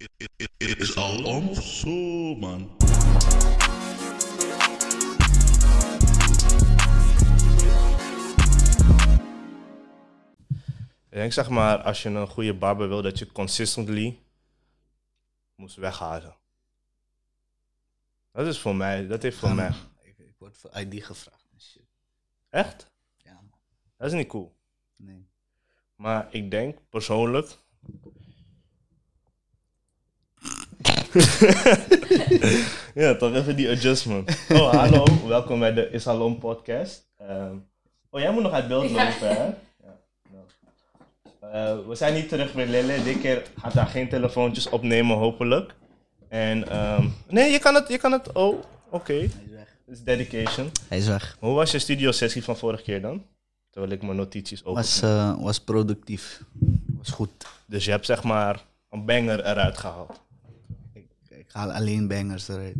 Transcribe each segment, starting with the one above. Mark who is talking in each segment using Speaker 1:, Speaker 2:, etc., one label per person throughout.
Speaker 1: it is all on zo, man.
Speaker 2: Ik denk zeg maar, als je een goede barber wil, dat je consistently moest weghalen. Dat is voor mij, dat heeft voor mij.
Speaker 3: Ik, ik word voor ID gevraagd en shit.
Speaker 2: Echt?
Speaker 3: Ja, man.
Speaker 2: Dat is niet cool.
Speaker 3: Nee.
Speaker 2: Maar ik denk persoonlijk. ja, toch even die adjustment. Oh, hallo, welkom bij de Isalon podcast. Ehm, oh, jij moet nog uit beeld lopen, hè? Ja, nou. Eh, we zijn niet terug met Lele. Dit keer gaat daar geen telefoontjes opnemen, hopelijk. En, ehm, nee, je kan het, je kan het. Oh, oké.
Speaker 3: Hij is weg.
Speaker 2: Dit is dedication.
Speaker 3: Hij is weg.
Speaker 2: Hoe was je studiosessie van vorige keer dan? Terwijl ik mijn notities open.
Speaker 3: Was, eh, was productief. Was goed.
Speaker 2: Dus je hebt zeg maar een banger eruit gehaald.
Speaker 3: Ik, ik haal alleen bangers eruit.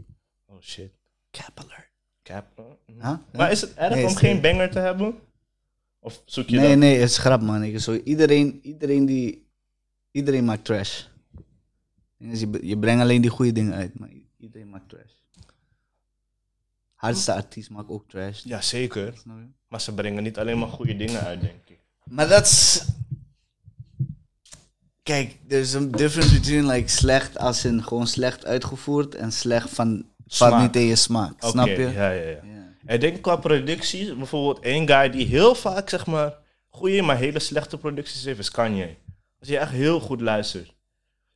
Speaker 2: Oh shit.
Speaker 3: Cap alert.
Speaker 2: Cap. eh.
Speaker 3: Huh?
Speaker 2: Maar is het erg
Speaker 3: Nee,
Speaker 2: om
Speaker 3: is-
Speaker 2: geen banger te hebben? Of zoek je
Speaker 3: Nee,
Speaker 2: dat?
Speaker 3: nee, het is grap, man. Ik, zo, iedereen, iedereen, die, iedereen maakt trash. Dus je, je brengt alleen die goede dingen uit, maar i- iedereen maakt trash. Hardste artiest maakt ook trash.
Speaker 2: Ja, zeker.
Speaker 3: Snap je?
Speaker 2: Maar ze brengen niet alleen maar goede dingen uit, denk ik.
Speaker 3: Maar dat is... Kijk, there's a difference between like slecht als in gewoon slecht uitgevoerd en slecht van
Speaker 2: Smaak.
Speaker 3: valt niet in je smaak.
Speaker 2: Oké,
Speaker 3: Snap je?
Speaker 2: Ja, ja, ja.
Speaker 3: Ja.
Speaker 2: Ik denk qua producties, bijvoorbeeld één guy die heel vaak zeg maar goede, maar hele slechte producties heeft, is Kanye. Als je echt heel goed luistert.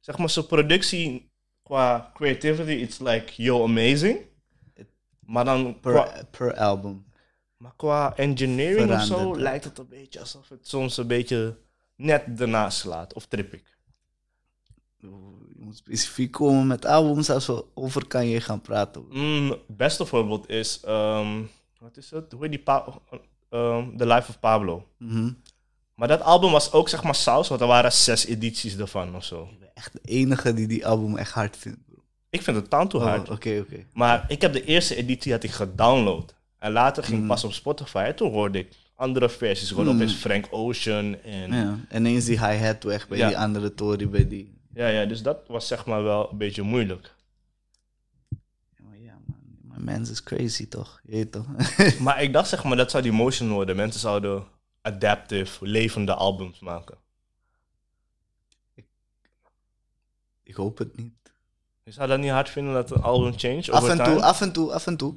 Speaker 2: Zeg maar zijn productie qua creativity, it's like yo amazing. Maar dan
Speaker 3: Per,
Speaker 2: qua-
Speaker 3: per album.
Speaker 2: Maar qua engineering of zo
Speaker 3: Veranderd, hè?
Speaker 2: lijkt het een beetje alsof het soms een beetje net ernaast slaat. Of trip ik.
Speaker 3: Je moet specifiek komen met albums als we over kan je gaan praten.
Speaker 2: Mm, het beste voorbeeld is, ehm, wat is het? Hoe heet die pa ehm, The Life of Pablo.
Speaker 3: Mhm.
Speaker 2: Maar dat album was ook zeg maar saus, want er waren zes edities ervan of zo.
Speaker 3: Ik ben echt de enige die die album echt hard vindt. bro.
Speaker 2: Ik vind het tanto
Speaker 3: Oh,
Speaker 2: hard.
Speaker 3: Oké, oké.
Speaker 2: Maar ik heb de eerste editie had ik gedownload. En later ging
Speaker 3: Mm.
Speaker 2: pas op Spotify. En toen hoorde ik andere versies. Gewoon opeens Frank Ocean en
Speaker 3: Ja, ineens die hi-hat weg bij
Speaker 2: Ja.
Speaker 3: die andere Tory, bij die...
Speaker 2: ja, ja, dus dat was zeg maar wel een beetje moeilijk.
Speaker 3: Ja, maar ja, man. Maar mens is crazy, toch? Je weet toch?
Speaker 2: Maar ik dacht zeg maar, dat zou die motion worden. Mensen zouden adaptive, levende albums maken.
Speaker 3: ik hoop het niet.
Speaker 2: Je zou dat niet hard vinden dat een album change
Speaker 3: Af
Speaker 2: over
Speaker 3: en toe,
Speaker 2: time?
Speaker 3: af en toe, af en toe.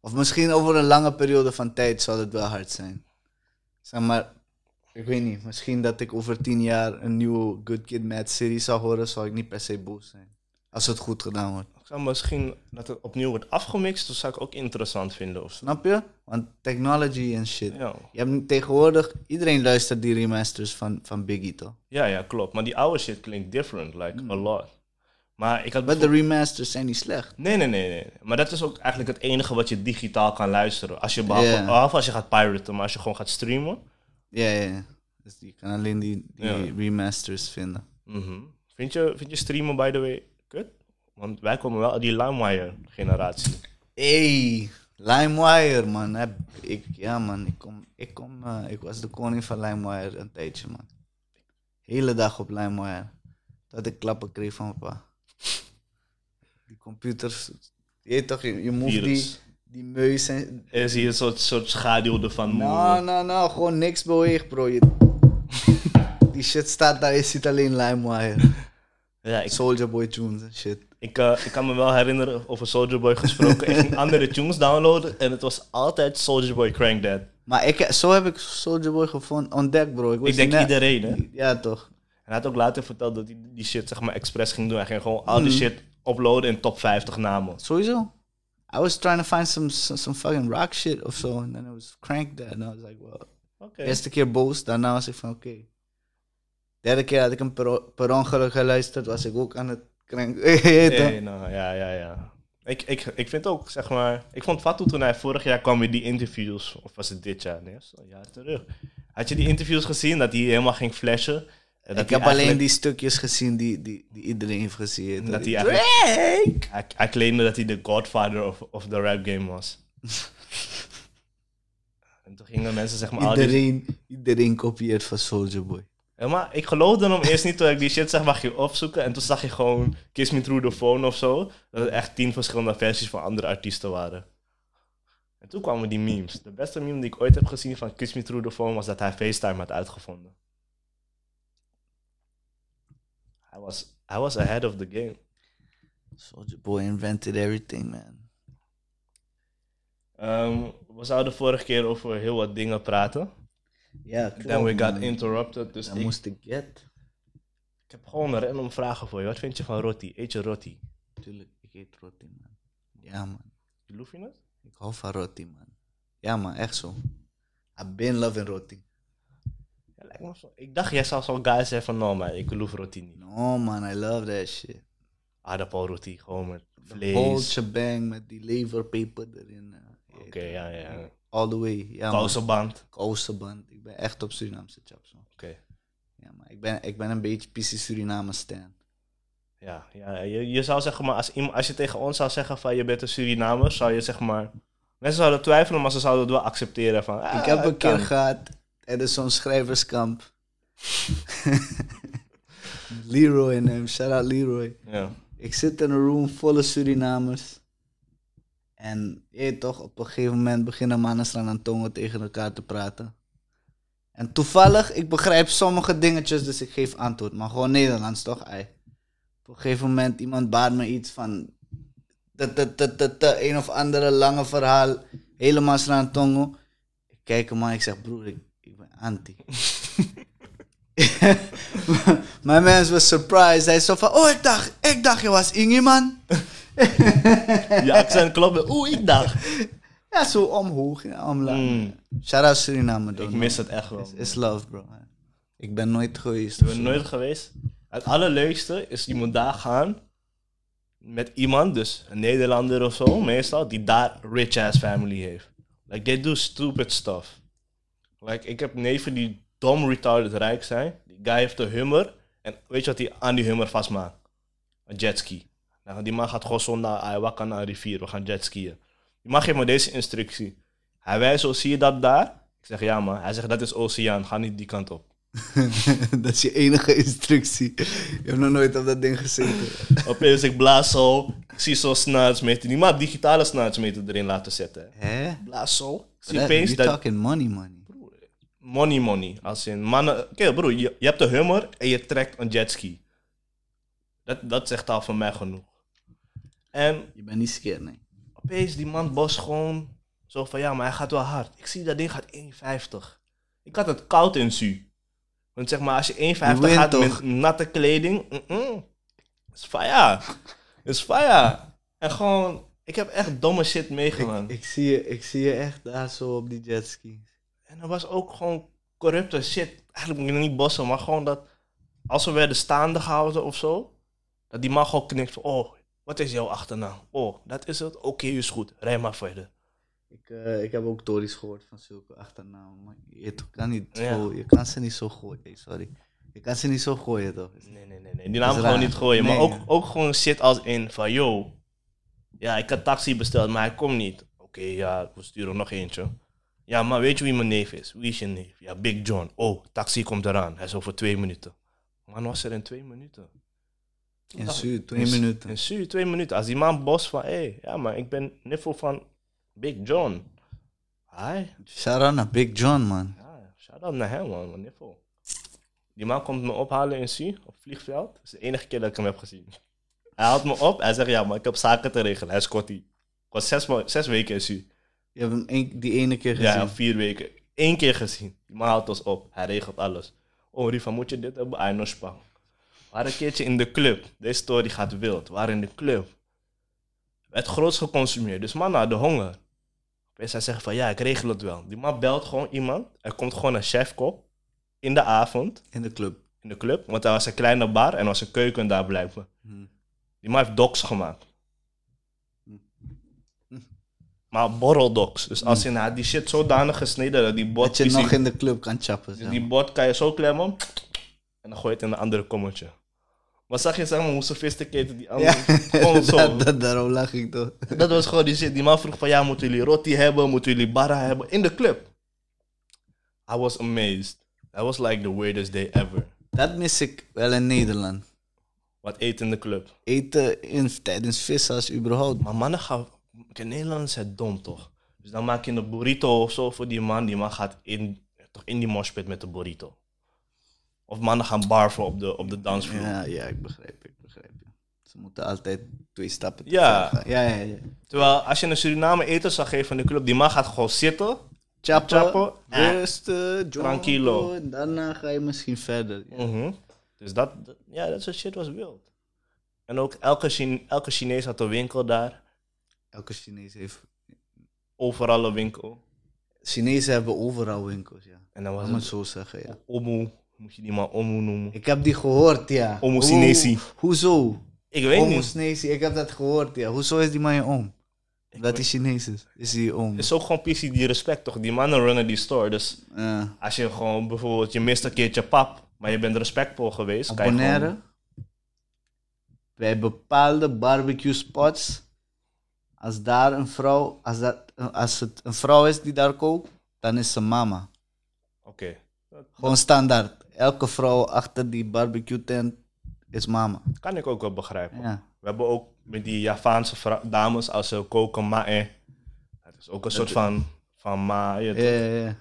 Speaker 3: Of misschien over een lange periode van tijd zal het wel hard zijn. Zeg maar, ik weet niet. Misschien dat ik over tien jaar een nieuwe Good Kid, Mad City zou horen, zal ik niet per se boos zijn. Als het goed gedaan wordt.
Speaker 2: Ik zou misschien dat het opnieuw wordt afgemixt, dat zou ik ook interessant vinden of zo.
Speaker 3: Snap je? Want technology en shit.
Speaker 2: Ja.
Speaker 3: Je hebt nu tegenwoordig, iedereen luistert die remasters van, van Biggie toch?
Speaker 2: ja, ja, klopt. Maar die oude shit klinkt different, like a lot. Maar ik had
Speaker 3: Hmm. Maar de remasters zijn niet slecht.
Speaker 2: Nee, nee, nee, nee. Maar dat is ook eigenlijk het enige wat je digitaal kan luisteren. Als je behalve,
Speaker 3: Ja.
Speaker 2: behalve als je gaat piraten, maar als je gewoon gaat streamen.
Speaker 3: Ja, ja, ja. Dus je kan alleen die, die
Speaker 2: Ja.
Speaker 3: remasters vinden.
Speaker 2: Mhm. vind, je, vind je streamen, by the way, kut? Want wij komen wel uit die LimeWire-generatie.
Speaker 3: Hey, LimeWire man. Heb Ik, ja man, ik, kom, ik, kom, eh, ik was de koning van LimeWire een tijdje man. Hele dag op LimeWire. Dat ik klappen kreeg van papa. Die computers, je weet toch, je, je moet die,
Speaker 2: Virus.
Speaker 3: die muis en
Speaker 2: Er zie je een soort, soort schaduw ervan.
Speaker 3: Nou, nou, nou, gewoon niks beweegt, bro. Je- Die shit staat daar, je ziet alleen LimeWire.
Speaker 2: Ja, ik,
Speaker 3: Soldier Boy tunes en shit.
Speaker 2: ik, eh, ik kan me wel herinneren over Soldier Boy gesproken. ik ging andere tunes downloaden en het was altijd Soldier Boy Crank That.
Speaker 3: Maar ik, zo heb ik Soldier Boy gevonden, ontdekt, bro. Ik,
Speaker 2: Ik
Speaker 3: wist
Speaker 2: denk
Speaker 3: niet-
Speaker 2: iedereen, hè? En
Speaker 3: Ja, toch.
Speaker 2: hij had ook later verteld dat hij die shit zeg maar expres ging doen. Hij ging gewoon
Speaker 3: Mhm.
Speaker 2: al die shit uploaden in top 50 namen.
Speaker 3: Sowieso. I was trying to find some, some, some fucking rock shit of so, and then it was cranked that, and I was like, well.
Speaker 2: Oké.
Speaker 3: Eerste keer boos, daarna was ik van, oké. Derde keer had ik hem per, o- per ongeluk geluisterd, was ik ook aan het cranken. Je weet toch?
Speaker 2: Nee, nou, ja, ja, ja. Ik, ik, ik vind ook, zeg maar... Ik vond Fatou toen hij vorig jaar kwam met die interviews... Of was het dit jaar? Nee, dat is al een jaar terug. Had je die interviews gezien? Dat hij helemaal ging flashen? En dat
Speaker 3: Ik
Speaker 2: hij
Speaker 3: heb alleen
Speaker 2: eigenlijk-
Speaker 3: die stukjes gezien die, die, die iedereen heeft gezien. je weet toch?
Speaker 2: Dat
Speaker 3: Die
Speaker 2: hij eigenlijk... Hij, hij claimde dat hij de godfather of, of the rap game was. en toen gingen mensen zeg maar... al die-
Speaker 3: Iedereen, iedereen kopieert van Soldier Boy.
Speaker 2: Ja, maar ik geloofde hem eerst niet toen ik die shit zeg maar ging opzoeken. En toen zag je gewoon Kiss Me Through the Phone of zo. Dat het echt tien verschillende versies van andere artiesten waren. En toen kwamen die memes. De beste meme die ik ooit heb gezien van Kiss Me Through the Phone was dat hij FaceTime had uitgevonden. Hij was, hij was ahead of the game.
Speaker 3: Soldier Boy invented everything, man.
Speaker 2: Ehm, we zouden vorige keer over heel wat dingen praten.
Speaker 3: Ja, klopt.
Speaker 2: Then we got
Speaker 3: man.
Speaker 2: interrupted. Dus
Speaker 3: Dan
Speaker 2: ik,
Speaker 3: moest ik get.
Speaker 2: ik heb gewoon random vragen voor je. Wat vind je van roti? Eet je roti?
Speaker 3: Tuurlijk, ik eet roti, man. Ja, man.
Speaker 2: Geloof je het?
Speaker 3: Ik hou van roti, man. Ja, man, echt zo. I've been loving roti.
Speaker 2: Ja, lijkt me zo. Ik dacht, jij zou zo'n guy zijn van, no man, ik geloof roti niet.
Speaker 3: No, man, I love that shit.
Speaker 2: Aardappelroti, gewoon met
Speaker 3: Whole
Speaker 2: vlees.
Speaker 3: shebang met die leverpaper erin. eh.
Speaker 2: Oké, ja, ja. ja.
Speaker 3: All the way. Ja, man.
Speaker 2: Kousenband. Oké.
Speaker 3: Kousenband. Ik ben echt op Surinaamse chaps, man. Ja, maar ik ben, ik ben een beetje PC Suriname stan.
Speaker 2: Ja, ja je, je zou zeg maar, als, iemand- als je tegen ons zou zeggen van, je bent een Surinamer, zou je zeg maar... Mensen zouden twijfelen, maar ze zouden het wel accepteren van... ah,
Speaker 3: ik heb een
Speaker 2: het kan.
Speaker 3: keer gehad tijdens zo'n schrijverskamp. Leroy en hem, shout out Leroy.
Speaker 2: Ja.
Speaker 3: Ik zit in een room volle Surinamers. En je weet toch, op een gegeven moment beginnen Manasran en Tongo tegen elkaar te praten. En toevallig, ik begrijp sommige dingetjes, dus ik geef antwoord. Maar gewoon Nederlands, toch? Ei. Op een gegeven moment, iemand baart me iets van... te, te, te, te, te, een of andere lange verhaal. Helemaal Sran Tongo. Ik kijk hem aan, ik zeg, broer, ik, ik ben anti. Mijn mens was surprised. Hij is zo van, oh, ik dacht, ik dacht je was Inge, man.
Speaker 2: Je accent klopt. Oeh, ik dacht.
Speaker 3: Ja, zo omhoog en omlaag.
Speaker 2: Mm.
Speaker 3: Shout out Suriname,
Speaker 2: Ik
Speaker 3: dog.
Speaker 2: mis het echt wel.
Speaker 3: It's, it's love, bro. Ik ben nooit geweest.
Speaker 2: Ik ben nooit geweest. Het allerleukste is, je moet daar gaan met iemand, dus een Nederlander of zo, meestal, die daar rich ass family heeft. Like, they do stupid stuff. Like, ik heb neven die dom retarded rijk zijn. Die guy heeft een hummer. En weet je wat hij aan die hummer vastmaakt? Een jetski. Nou, die man gaat gewoon zonder Ayahuasca naar een rivier. We gaan jetskiën. Die man geeft me deze instructie. Hij wijst zo, zie je dat daar? Ik zeg, ja man. Hij zegt, dat is oceaan. Ga niet die kant op.
Speaker 3: dat is je enige instructie. Je hebt nog nooit op dat ding gezeten.
Speaker 2: Opeens ik blaas zo, ik zie zo'n snaatsmeter. Die maar digitale snaatsmeter erin laten zetten.
Speaker 3: Hè?
Speaker 2: Blaas zo. Ik zie
Speaker 3: You
Speaker 2: opeens
Speaker 3: you're
Speaker 2: dat
Speaker 3: talking money, money.
Speaker 2: money money. Als in mannen... Kijk broer, je, je hebt de hummer en je trekt een jetski. Dat, dat zegt al voor mij genoeg. En
Speaker 3: Je bent niet scared, nee.
Speaker 2: opeens die man bos gewoon zo van ja, maar hij gaat wel hard. Ik zie dat ding gaat 1,50. Ik had het koud in Su. Want zeg maar, als je 1,50
Speaker 3: Je wint
Speaker 2: gaat
Speaker 3: toch?
Speaker 2: met natte kleding, mm-mm, is fire. Is fire. En gewoon, ik heb echt domme shit meegemaakt.
Speaker 3: Ik zie, je, ik zie je echt daar zo op die jetski.
Speaker 2: En er was ook gewoon corrupte shit. Eigenlijk moet ik niet bossen, maar gewoon dat als we werden staande gehouden of zo, dat die man gewoon knikt van, oh, wat is jouw achternaam? Oh, dat is het. Oké, is goed. Rij maar verder.
Speaker 3: Ik, eh, ik heb ook tories gehoord van zulke achternamen. Maar je, toch kan niet
Speaker 2: Ja.
Speaker 3: zo, je kan ze niet zo gooien. eh, Sorry. Je kan ze niet zo gooien, toch?
Speaker 2: Nee, nee, nee, nee. Die naam
Speaker 3: is
Speaker 2: gewoon
Speaker 3: raar.
Speaker 2: niet gooien. maar
Speaker 3: Nee,
Speaker 2: ook,
Speaker 3: ja.
Speaker 2: ook gewoon shit als in van, yo, ja, ik had taxi besteld, maar hij komt niet. Oké, ja, we sturen nog eentje. Ja, maar weet je wie mijn neef is? Wie is je neef? Ja, Big John. Oh, taxi komt eraan. Hij is over twee minuten. Man was er in twee minuten.
Speaker 3: In Zuid,
Speaker 2: In
Speaker 3: twee
Speaker 2: Su-
Speaker 3: minuten.
Speaker 2: In Su, twee minuten. Als die man bos van, hé, hey, ja, maar ik ben niffel van Big John. Hi.
Speaker 3: Shout out naar Big John, man.
Speaker 2: Ja, shout-out Ah, naar hem, man. man niffel. Die man komt me ophalen in Su, op het vliegveld. Dat is de enige keer dat ik hem heb gezien. Hij haalt me op, hij zegt, ja, maar ik heb zaken te regelen. Hij is Scotty. Ik was zes, ma- zes weken in Su.
Speaker 3: Je hebt hem één- die ene keer gezien.
Speaker 2: Ja, vier weken. Eén keer gezien. Die man haalt ons op. Hij regelt alles. Oh, Riva, moet je dit hebben? Ah, no spa. We waren een keertje in de club. Deze story gaat wild. We waren in de club. Werd groots geconsumeerd. Dus man had de honger. Opeens hij zegt van, ja, ik regel het wel. Die man belt gewoon iemand. Er komt gewoon een chefkok. In de avond.
Speaker 3: In de club.
Speaker 2: In de club. Want er was een kleine bar. En er was een keuken daar blijkbaar.
Speaker 3: Hmm.
Speaker 2: Die man heeft docs gemaakt. Maar borreldocs. Dus als je nou die shit zodanig gesneden dat die bot...
Speaker 3: Dat je
Speaker 2: die-
Speaker 3: nog in de club kan chappen.
Speaker 2: dus
Speaker 3: zeg
Speaker 2: die
Speaker 3: maar.
Speaker 2: bord kan je zo klemmen en dan gooi je het in een andere kommetje. Maar zag je zeg maar hoe sophisticated die andere... Gewoon zo.
Speaker 3: dat, dat- daarom lach ik toch.
Speaker 2: Dat was gewoon die shit. Die man vroeg van ja, moeten jullie roti hebben? Moeten jullie barra hebben? In de club. I was amazed. That was like the weirdest day ever.
Speaker 3: Dat mis ik wel in Nederland.
Speaker 2: Wat eten in de club.
Speaker 3: Eten in, tijdens vissen als überhaupt.
Speaker 2: Maar mannen gaan... Kijk, Nederlanders zijn dom, toch? Dus dan maak je een burrito of zo voor die man. Die man gaat in, toch in die moshpit met de burrito. Of mannen gaan barven op de, op de dansvloer.
Speaker 3: Ja, ja, ik begrijp, ik begrijp. je. Ze moeten altijd twee stappen te
Speaker 2: Ja.
Speaker 3: ver gaan. ja, ja, ja.
Speaker 2: Terwijl als je een Suriname eten zou geven in de club, die man gaat gewoon zitten.
Speaker 3: Chappen,
Speaker 2: Chappen, ja.
Speaker 3: rusten, jongen,
Speaker 2: Tranquilo.
Speaker 3: en Daarna ga je misschien verder.
Speaker 2: Mhm. Dus dat, dat- ja, dat soort shit was wild. En ook elke, Chine- elke Chinees had een winkel daar.
Speaker 3: Elke Chinees heeft...
Speaker 2: Overal een winkel.
Speaker 3: Chinezen hebben overal winkels, ja.
Speaker 2: En dan was
Speaker 3: Laat me het
Speaker 2: het
Speaker 3: zo zeggen, ja.
Speaker 2: Omu. Moet je die man Omu noemen? Ik,
Speaker 3: Ik heb die gehoord, ja.
Speaker 2: Omo Chinesi.
Speaker 3: Hoe- hoezo?
Speaker 2: weet
Speaker 3: Omo
Speaker 2: niet.
Speaker 3: Chinesi, ik heb dat gehoord, ja. Hoezo is die man je oom? Dat hij Chinees is. Is hij je oom?
Speaker 2: Het is ook gewoon pissie die respect, toch? Die mannen runnen die store. Dus
Speaker 3: Ja.
Speaker 2: als je gewoon bijvoorbeeld, je mist een keertje pap, maar je bent respectvol geweest. kan je gewoon-
Speaker 3: Bonaire. Bij bepaalde barbecue spots. Als daar een vrouw, als, dat, als het een vrouw is die daar kookt, dan is ze mama.
Speaker 2: Oké.
Speaker 3: Gewoon standaard. Elke vrouw achter die barbecue tent is mama.
Speaker 2: Dat kan ik ook wel begrijpen.
Speaker 3: Ja.
Speaker 2: We hebben ook met die Javaanse vrou- dames als eh, ze koken ma'e. Het is ook een soort van, van ma. je-
Speaker 3: Ja, ja, ja.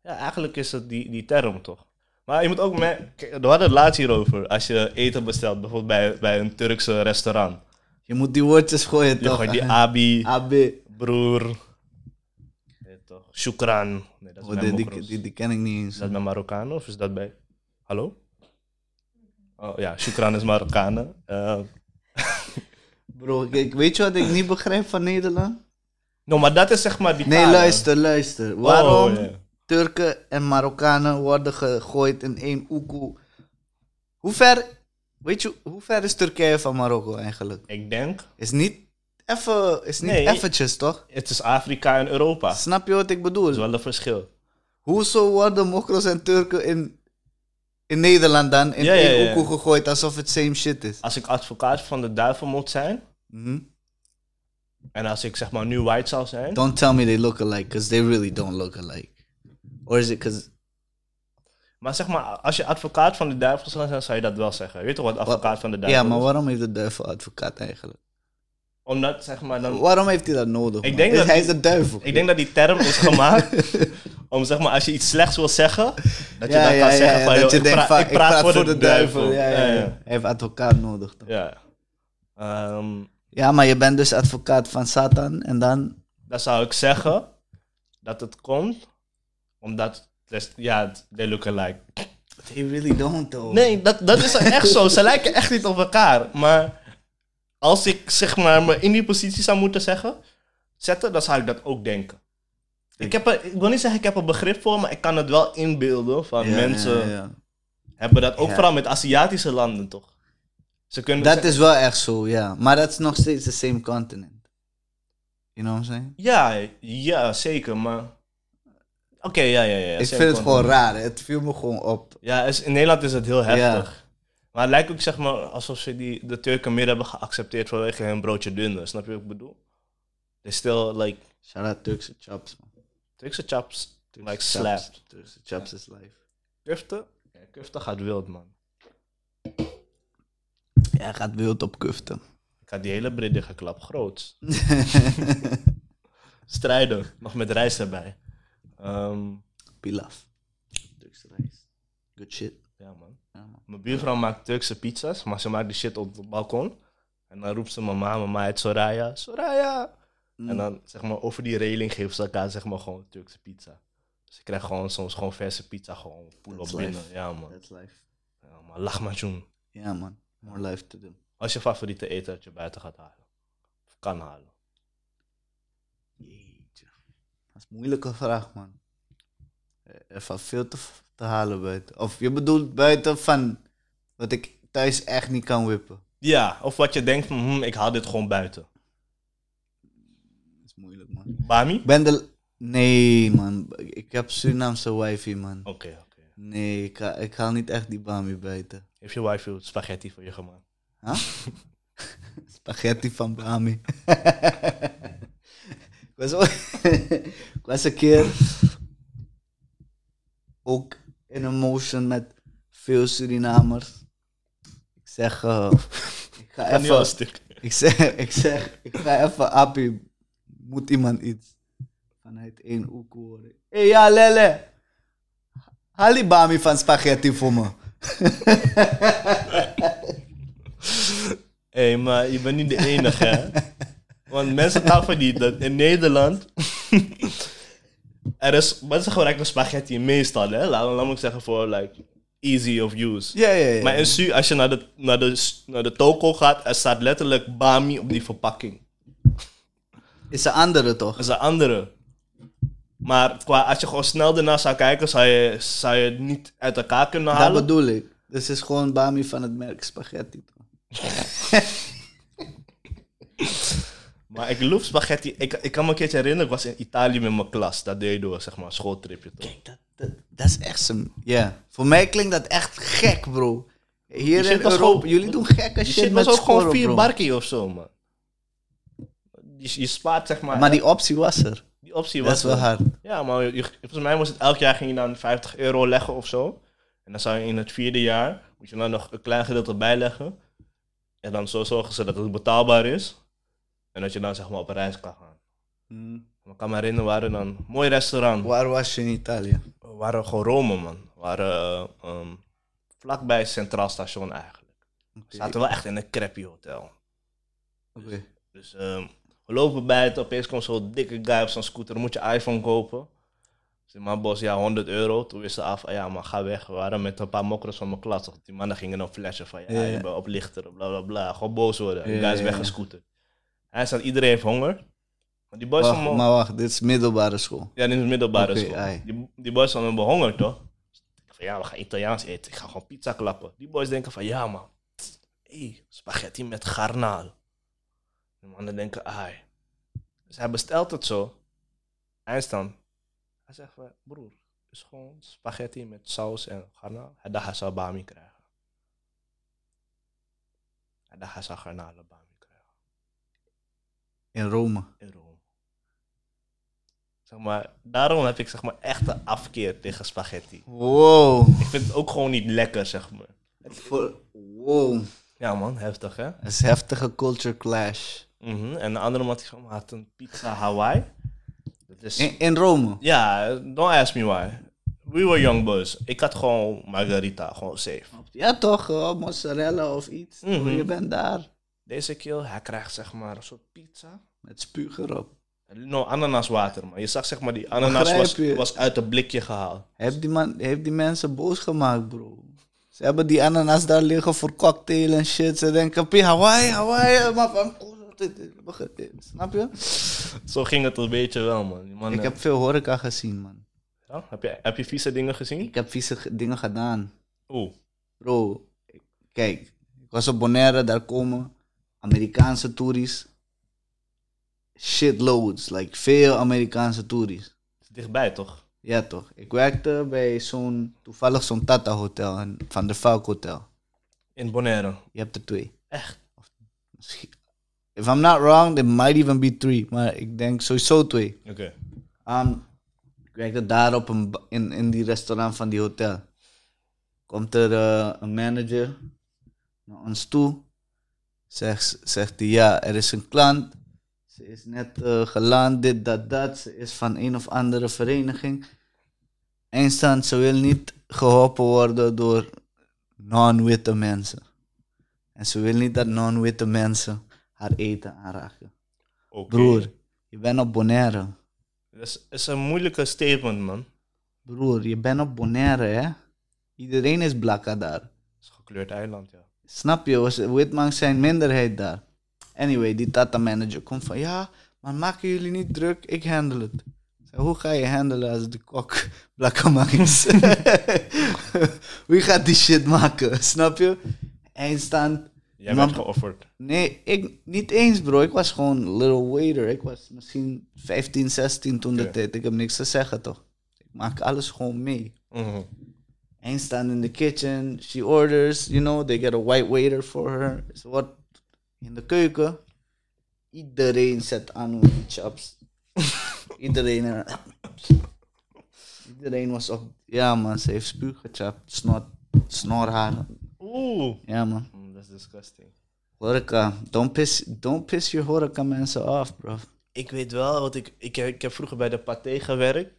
Speaker 2: Ja, eigenlijk is het die, die term toch. Maar je moet ook merken, kijk, we hadden het laatst hierover. Als je eten bestelt, bijvoorbeeld bij, bij een Turkse restaurant.
Speaker 3: Je moet die woordjes gooien
Speaker 2: Je
Speaker 3: toch?
Speaker 2: gooit die abi,
Speaker 3: AB.
Speaker 2: broer. Nee, toch? Shukran. Nee, dat is
Speaker 3: Oh,
Speaker 2: bij
Speaker 3: die, die,
Speaker 2: Mokros.
Speaker 3: die, die ken ik niet eens.
Speaker 2: Is dat bij Marokkanen of is dat bij... Hallo? Oh ja, Shukran is Marokkanen. Eh,
Speaker 3: Bro, ik, weet je wat ik niet begrijp van Nederland?
Speaker 2: Ah, no, maar dat is zeg maar die
Speaker 3: Nee,
Speaker 2: talen.
Speaker 3: luister, luister. Waarom
Speaker 2: Oh, ja.
Speaker 3: Turken en Marokkanen worden gegooid in één oekoe? Hoe ver, weet je, hoe ver is Turkije van Marokko eigenlijk?
Speaker 2: Ik denk,
Speaker 3: Is niet, effe, is niet
Speaker 2: Nee.
Speaker 3: eventjes, toch?
Speaker 2: het is Afrika en Europa. Dat
Speaker 3: Snap je wat ik
Speaker 2: is
Speaker 3: bedoel?
Speaker 2: wel een verschil.
Speaker 3: Hoezo worden mokros en Turken in, in Nederland dan in
Speaker 2: Ja, ja,
Speaker 3: één
Speaker 2: ja.
Speaker 3: oekoe gegooid alsof het same shit is?
Speaker 2: Als ik advocaat van de duivel moet zijn...
Speaker 3: Mhm.
Speaker 2: En als ik zeg maar nu white zou zijn...
Speaker 3: Don't tell me they look alike, because they really don't look alike. Or is it because...
Speaker 2: Maar zeg maar, als je advocaat van de duivel zou zijn, zou je dat wel zeggen. Weet toch wat advocaat van de duivel
Speaker 3: Ja, maar
Speaker 2: is?
Speaker 3: waarom heeft de duivel advocaat eigenlijk?
Speaker 2: Omdat zeg maar dan...
Speaker 3: Waarom heeft hij dat nodig?
Speaker 2: Ik
Speaker 3: man?
Speaker 2: denk
Speaker 3: Is-
Speaker 2: dat
Speaker 3: hij
Speaker 2: die-
Speaker 3: is de duivel.
Speaker 2: Ik denk dat die term is gemaakt om zeg maar, als je iets slechts wil zeggen, dat je
Speaker 3: Ja,
Speaker 2: dan
Speaker 3: ja,
Speaker 2: kan
Speaker 3: ja,
Speaker 2: zeggen
Speaker 3: ja,
Speaker 2: van,
Speaker 3: dat
Speaker 2: joh,
Speaker 3: je
Speaker 2: ik,
Speaker 3: denkt
Speaker 2: pra-
Speaker 3: van,
Speaker 2: ik praat voor de, duivel.
Speaker 3: Ja, ja, ja. Hij heeft advocaat nodig. toch? Ja.
Speaker 2: Ja. Ehm,
Speaker 3: maar je bent dus advocaat van Satan en dan...
Speaker 2: dan zou ik zeggen dat het komt omdat, dus, ja, they look alike.
Speaker 3: They really don't, though.
Speaker 2: Nee, dat, dat is echt zo. Ze lijken echt niet op elkaar. Maar als ik zeg maar me in die positie zou moeten zeggen, zetten, dan zou ik dat ook denken. Ik, heb er, ik wil niet zeggen ik heb er begrip voor, maar ik kan het wel inbeelden van
Speaker 3: Ja,
Speaker 2: mensen
Speaker 3: ja, ja.
Speaker 2: hebben dat ook
Speaker 3: Ja.
Speaker 2: vooral met Aziatische landen toch. Ze kunnen
Speaker 3: Dat
Speaker 2: ze-
Speaker 3: is wel echt zo, ja. Maar dat is nog steeds the same continent. You know what I'm saying?
Speaker 2: ja, ja, zeker, maar oké, ja, ja, ja.
Speaker 3: ik
Speaker 2: zeker.
Speaker 3: vind het gewoon raar. Het viel me gewoon op.
Speaker 2: Ja, is- in Nederland is het heel
Speaker 3: Ja.
Speaker 2: heftig. Maar het lijkt ook zeg maar alsof ze die, de Turken meer hebben geaccepteerd vanwege hun broodje dunner. Snap je wat ik bedoel? They still like
Speaker 3: Shout out Turkse Chops, man.
Speaker 2: Turkse chaps
Speaker 3: Turkse
Speaker 2: like
Speaker 3: chops.
Speaker 2: slapped.
Speaker 3: Turkse Chops is life.
Speaker 2: Kufte? Ja, Kufte gaat wild man.
Speaker 3: Ja, hij gaat wild op kuften.
Speaker 2: Ik had die hele breddige klap groot. Strijden, nog met rijst erbij. Ehm,
Speaker 3: Pilaf. Turkse rijst. Good shit.
Speaker 2: ja man.
Speaker 3: Ja, man.
Speaker 2: Mijn buurvrouw maakt Turkse pizza's, maar ze maakt die shit op het balkon. En dan roept ze mama, mama heet Soraya, Soraya.
Speaker 3: Mm.
Speaker 2: En dan zeg maar over die reling geven ze elkaar zeg maar gewoon Turkse pizza. Dus ik krijg gewoon soms gewoon verse pizza, gewoon poel op
Speaker 3: That's life.
Speaker 2: binnen. Ja man.
Speaker 3: That's life.
Speaker 2: Ja man, lahmacun.
Speaker 3: Ja, man. More life to do.
Speaker 2: Wat is je favoriete eten dat je buiten gaat halen? Of kan halen?
Speaker 3: Jeetje. Dat is een moeilijke vraag, man. Er er valt veel te, te halen buiten. Of je bedoelt buiten van wat ik thuis echt niet kan wippen.
Speaker 2: Ja, of wat je denkt van, hm, ik haal dit gewoon buiten.
Speaker 3: Dat is moeilijk, man.
Speaker 2: Bami?
Speaker 3: Ik ben de... Nee, man. Ik heb Surinaamse wifi, man.
Speaker 2: Oké, oké.
Speaker 3: Nee, ik, ha- ik haal niet echt die bami buiten.
Speaker 2: Heeft je wifi spaghetti voor je gemaakt?
Speaker 3: Spaghetti van Bami. ik, was ook- ik was een keer ook eh, in een motion met veel Surinamers. Ik zeg, eh, ik ga
Speaker 2: Ga nu al
Speaker 3: even,
Speaker 2: stuk.
Speaker 3: ik zeg, ik zeg, ik ga even, Appie, moet iemand iets vanuit één hoek horen. Hé, ja, Lele, haal die bami van spaghetti voor me.
Speaker 2: Hé, hey, maar je bent niet de enige, hè? Want mensen taffen niet dat in Nederland. er is. Mensen gebruiken spaghetti meestal, hè? Laat, laat me zeggen voor like, easy of use.
Speaker 3: Ja, ja, ja.
Speaker 2: Maar in Su, als je naar de, naar, de, s- naar de toko gaat, er staat letterlijk Bami op die verpakking.
Speaker 3: Is een andere
Speaker 2: Dat
Speaker 3: toch?
Speaker 2: is een andere. Maar qua, als je gewoon snel ernaar zou kijken, zou je, zou je het niet uit elkaar kunnen
Speaker 3: Dat
Speaker 2: halen.
Speaker 3: bedoel ik. Dus het is gewoon bami van het merk spaghetti. toch?
Speaker 2: Maar ik loof spaghetti. Ik, ik kan me een keertje herinneren, ik was in Italië met mijn klas. Dat deed je door, zeg maar, schooltripje toch.
Speaker 3: Kijk, dat, dat, dat is echt zo'n... Ja. Voor mij klinkt dat echt gek, bro. Hier
Speaker 2: shit
Speaker 3: in
Speaker 2: was
Speaker 3: Europa,
Speaker 2: gewoon-
Speaker 3: jullie doen gekke
Speaker 2: Die
Speaker 3: shit,
Speaker 2: shit
Speaker 3: met
Speaker 2: was ook gewoon
Speaker 3: scoren,
Speaker 2: vier
Speaker 3: bro.
Speaker 2: barkie of zo, man. Je, je spaart zeg maar.
Speaker 3: Maar die optie was er.
Speaker 2: die optie
Speaker 3: Dat
Speaker 2: was
Speaker 3: is wel
Speaker 2: er.
Speaker 3: hard.
Speaker 2: Ja, maar je- je- volgens mij was het elk jaar ging je dan 50 euro leggen of zo. En dan zou je in het vierde jaar, moet je dan nog een klein gedeelte bijleggen. En dan zo zorgen ze dat het betaalbaar is. En dat je dan zeg maar op reis kan gaan. Maar Ik kan me herinneren, we waren dan een mooi restaurant.
Speaker 3: Waar was je in Italië?
Speaker 2: We waren gewoon Rome, man. We waren eh, ehm, vlakbij het Centraal Station eigenlijk. We zaten wel echt in een crappy hotel.
Speaker 3: Oké.
Speaker 2: Dus ehm, we lopen bij het, opeens komt zo'n dikke guy op zo'n scooter, dan moet je iPhone kopen. Ik zei, maar bos, ja, 100 euro. Toen wist ze af, ja, maar ga weg. We waren met een paar mokkers van mijn klas. toch? Die mannen gingen dan flashen van, ja,
Speaker 3: Ja.
Speaker 2: je bent oplichter, bla, bla, bla. Gewoon boos worden. Die
Speaker 3: Ja,
Speaker 2: guy is
Speaker 3: ja, ja.
Speaker 2: weggescooterd. Hij staat, iedereen heeft honger. Maar die boys
Speaker 3: Wacht,
Speaker 2: van mijn-
Speaker 3: maar wacht, dit is middelbare school.
Speaker 2: ja, in de middelbare
Speaker 3: Oké,
Speaker 2: school.
Speaker 3: ai.
Speaker 2: Die, die boys hadden me behongerd, toch? Ik van, ja, we gaan Italiaans eten. Ik ga gewoon pizza klappen. Die boys denken van, ja, man. Hey, spaghetti met garnaal. De mannen denken, ai. Dus hij bestelt het zo. Eindstand. Hij zegt van, broer, het is gewoon spaghetti met saus en garnaal. Hij dacht, hij zou bami krijgen. Hij dacht, hij zou garnaal en bami krijgen
Speaker 3: In Rome.
Speaker 2: in Rome. Zeg maar, daarom heb ik zeg maar echt een afkeer tegen spaghetti.
Speaker 3: Wow.
Speaker 2: Ik vind het ook gewoon niet lekker, zeg maar.
Speaker 3: Voor- Wow.
Speaker 2: Ja man, heftig hè?
Speaker 3: Dat is heftige culture clash.
Speaker 2: Mhm. En de andere man die zeg maar, had een pizza Hawaii. Dat is...
Speaker 3: In, in Rome.
Speaker 2: Ja, don't ask me why. We were young boys. Ik had gewoon margarita, gewoon safe.
Speaker 3: Ja toch, eh, mozzarella of iets.
Speaker 2: Mhm.
Speaker 3: Je bent daar.
Speaker 2: Deze kill, hij krijgt zeg maar een soort pizza.
Speaker 3: Met spuug erop.
Speaker 2: No, ananaswater man. Je zag zeg maar die ananas was,
Speaker 3: Begrijp je?
Speaker 2: was uit het blikje gehaald.
Speaker 3: Heeft die, man, heeft die mensen boos gemaakt, bro. Ze hebben die ananas daar liggen voor cocktail en shit. Ze denken, P, Hawaii, Hawaii, maar van... Snap je?
Speaker 2: Zo ging het een beetje wel man. Die man
Speaker 3: Ik
Speaker 2: eh,
Speaker 3: heb veel horeca gezien, man.
Speaker 2: ja? heb, je, heb je vieze dingen gezien?
Speaker 3: Ik heb vieze ge- dingen gedaan.
Speaker 2: Oeh.
Speaker 3: Bro, ik- kijk. Ik was op Bonaire, daar komen Amerikaanse toeries. Shitloads, like veel Amerikaanse toeries.
Speaker 2: Het is dichtbij, toch?
Speaker 3: Ja toch, ik werkte bij zo'n, toevallig zo'n Tata Hotel, een Van der Valk Hotel.
Speaker 2: In Bonaire.
Speaker 3: Je hebt er twee.
Speaker 2: Echt?
Speaker 3: Of misschien. If I'm not wrong, there might even be three. Maar ik denk sowieso twee.
Speaker 2: Oké.
Speaker 3: Ehm, ik werkte daar op een, ba- in, in die restaurant van die hotel. Komt er eh, een manager naar ons toe. Zegt, zegt hij, ja, er is een klant. Ze is net eh, geland, dit, dat, dat. Ze is van een of andere vereniging. Eindstand, ze wil niet geholpen worden door non-witte mensen. En ze wil niet dat non-witte mensen haar eten aanraken.
Speaker 2: Oké.
Speaker 3: Broer, je bent op Bonaire.
Speaker 2: Dat is, is een moeilijke statement, man.
Speaker 3: Broer, je bent op Bonaire, hè? Iedereen is blakka daar.
Speaker 2: Het is een gekleurd eiland, ja.
Speaker 3: Snap je? Was- Witmangs zijn minderheid daar. Anyway, die Tata-manager komt van... Ja, maar maken jullie niet druk, ik handel het. Ik Zeg, Hoe ga je handelen als de kok blakka mag is? Wie gaat die shit maken? Snap je? Eindstand...
Speaker 2: Jij
Speaker 3: Maar-
Speaker 2: bent geofferd.
Speaker 3: Nee, ik niet eens, bro. Ik was gewoon little waiter. Ik was misschien 15, 16 toen de
Speaker 2: Oké.
Speaker 3: tijd. Ik heb niks te zeggen, toch? Ik maak alles gewoon mee.
Speaker 2: Mhm.
Speaker 3: Einstein in the kitchen. She orders, you know, they get a white waiter for her. Ze wordt in de keuken. Iedereen zet aan die chops. Iedereen. er- eh, Iedereen was op. Ja, man, ze heeft spuug gechapt. Snor, snorharen.
Speaker 4: Oeh.
Speaker 3: Ja, man.
Speaker 4: Mm, that's disgusting.
Speaker 3: Horeca. Don't piss, don't piss your horeca mensen af, bro.
Speaker 2: Ik weet wel, want ik, ik, heb- ik heb vroeger bij de Pathé gewerkt.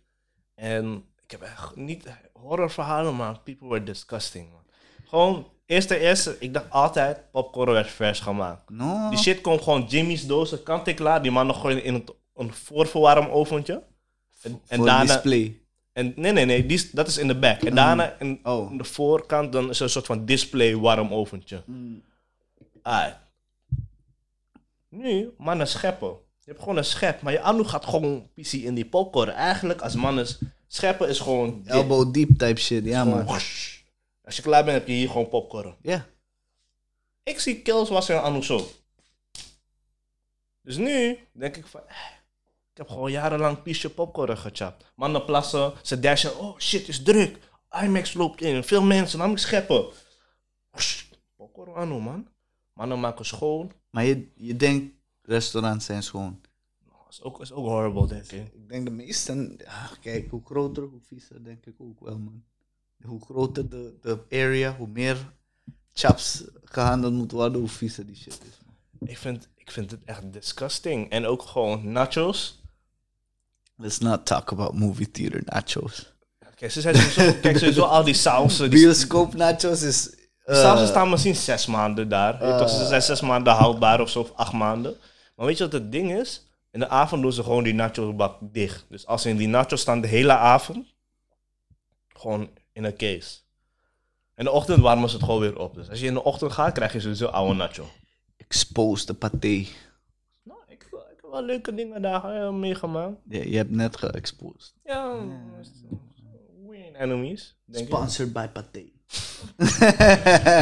Speaker 2: En ik heb echt niet horrorverhalen, maar people were disgusting. Man. Gewoon, eerst en eerste, ik dacht altijd, popcorn werd vers gemaakt.
Speaker 3: No.
Speaker 2: Die shit komt gewoon Jimmy's dozen, kant en klaar. Die man nog gewoon in het, een voorverwarm oventje. En, en
Speaker 3: voor
Speaker 2: daarna...
Speaker 3: display.
Speaker 2: En, nee, nee, nee, die, is- dat is in de back. En daarna in,
Speaker 3: Oh.
Speaker 2: aan de voorkant dan is er een soort van display warm oventje.
Speaker 3: Mm.
Speaker 2: Ah. Nu, mannen scheppen. Je hebt gewoon een schep, maar je anouk gaat gewoon pissie in die popcorn. Eigenlijk, als mannen s- scheppen is gewoon... dit.
Speaker 3: Elbow deep type shit, ja,
Speaker 2: Gewoon
Speaker 3: man.
Speaker 2: whoosh. Als je klaar bent, heb je hier gewoon popcorn.
Speaker 3: Ja.
Speaker 2: Ik zie Kels was en Anouk zo. Dus nu denk ik van... eh, Ik heb gewoon jarenlang piesje popcorn gechapt. Mannen plassen, ze dashen. Oh shit, is druk. IMAX loopt in, veel mensen, namelijk scheppen. Whoosh, Popcorn Anouk, man. Mannen maken schoon.
Speaker 3: Maar je, je denkt, restaurants zijn schoon.
Speaker 2: Is ook, is ook horrible, denk ik.
Speaker 3: Ik denk de meesten, ah, kijk, hoe groter, hoe viezer, denk ik ook wel, man. Hoe groter de, de area, hoe meer chaps gehandeld moet worden, hoe viezer die shit is. man.
Speaker 2: Ik vind, ik vind het echt disgusting. En ook gewoon nachos.
Speaker 3: Let's not talk about movie theater nachos.
Speaker 2: Kijk, ze zijn sowieso, kijk, sowieso al die sausen. Die,
Speaker 3: Bioscoop nachos is... eh,
Speaker 2: Zelfs ze staan misschien zes maanden daar. Weet je toch, ze zijn zes maanden houdbaar of zo, of acht maanden. Maar weet je wat het ding is? In de avond doen ze gewoon die nachosbak dicht. Dus als ze in die nachos staan de hele avond, gewoon in een case. In de ochtend warmen ze het gewoon weer op. Dus als je in de ochtend gaat, krijg je sowieso oude nacho.
Speaker 3: Exposed, de paté.
Speaker 2: Nou, ik, heb wel- ik heb wel leuke dingen daar eh, meegemaakt.
Speaker 3: Je, je hebt net geëxposed.
Speaker 2: Ja, we ain't enemies, denk ik.
Speaker 3: Sponsored by paté.
Speaker 2: In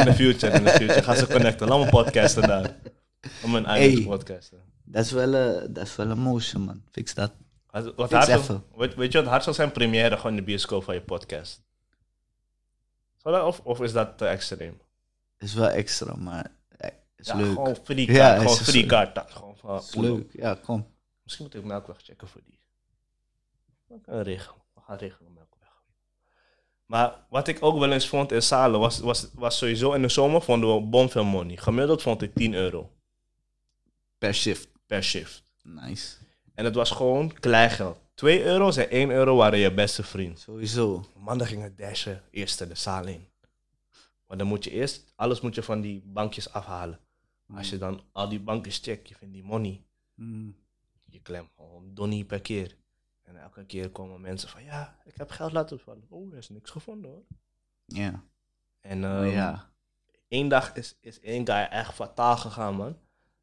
Speaker 2: the future, in the future. Gaan ze connecten. Laat me podcasten daar. Om mijn eigen
Speaker 3: Hey.
Speaker 2: podcasten.
Speaker 3: Dat is wel een- dat is wel een motion, man. Fix dat.
Speaker 2: Wat- Wat
Speaker 3: Fix
Speaker 2: hard zou-
Speaker 3: even.
Speaker 2: weet, weet je wat hard zou zijn? Première gewoon in de bioscoop van je podcast. Zou dat- of, of is dat te extreem?
Speaker 3: Is wel extra, maar eh, is
Speaker 2: Ja,
Speaker 3: leuk.
Speaker 2: gewoon free
Speaker 3: Ja,
Speaker 2: kaart. gewoon
Speaker 3: is- dus
Speaker 2: free kaart. Dat, gewoon van,
Speaker 3: is
Speaker 2: poel op.
Speaker 3: leuk. Ja, kom.
Speaker 2: Misschien moet ik Melkweg checken voor die. We gaan regelen. We gaan regelen Melkweg. Maar wat ik ook wel eens vond in Salen was, was, was sowieso in de zomer vonden we bonveel money. Gemiddeld vond ik 10 euro
Speaker 3: Per shift.
Speaker 2: per shift.
Speaker 3: Nice.
Speaker 2: En het was gewoon kleingeld. 2 euro en 1 euro waren je beste vriend.
Speaker 3: Sowieso.
Speaker 2: Mannen gingen dashen eerst de zaal in. Maar dan moet je eerst, alles moet je van die bankjes afhalen.
Speaker 3: Hmm.
Speaker 2: Als je dan al die bankjes checkt, je vindt die money.
Speaker 3: Mm.
Speaker 2: Je klemt gewoon donnie per keer. En elke keer komen mensen van, ja, ik heb geld laten vallen. Oh, er is niks gevonden hoor.
Speaker 3: Ja.
Speaker 2: En
Speaker 3: Maar
Speaker 2: ehm,
Speaker 3: Oh ja.
Speaker 2: één dag is, is één guy echt fataal gegaan, man.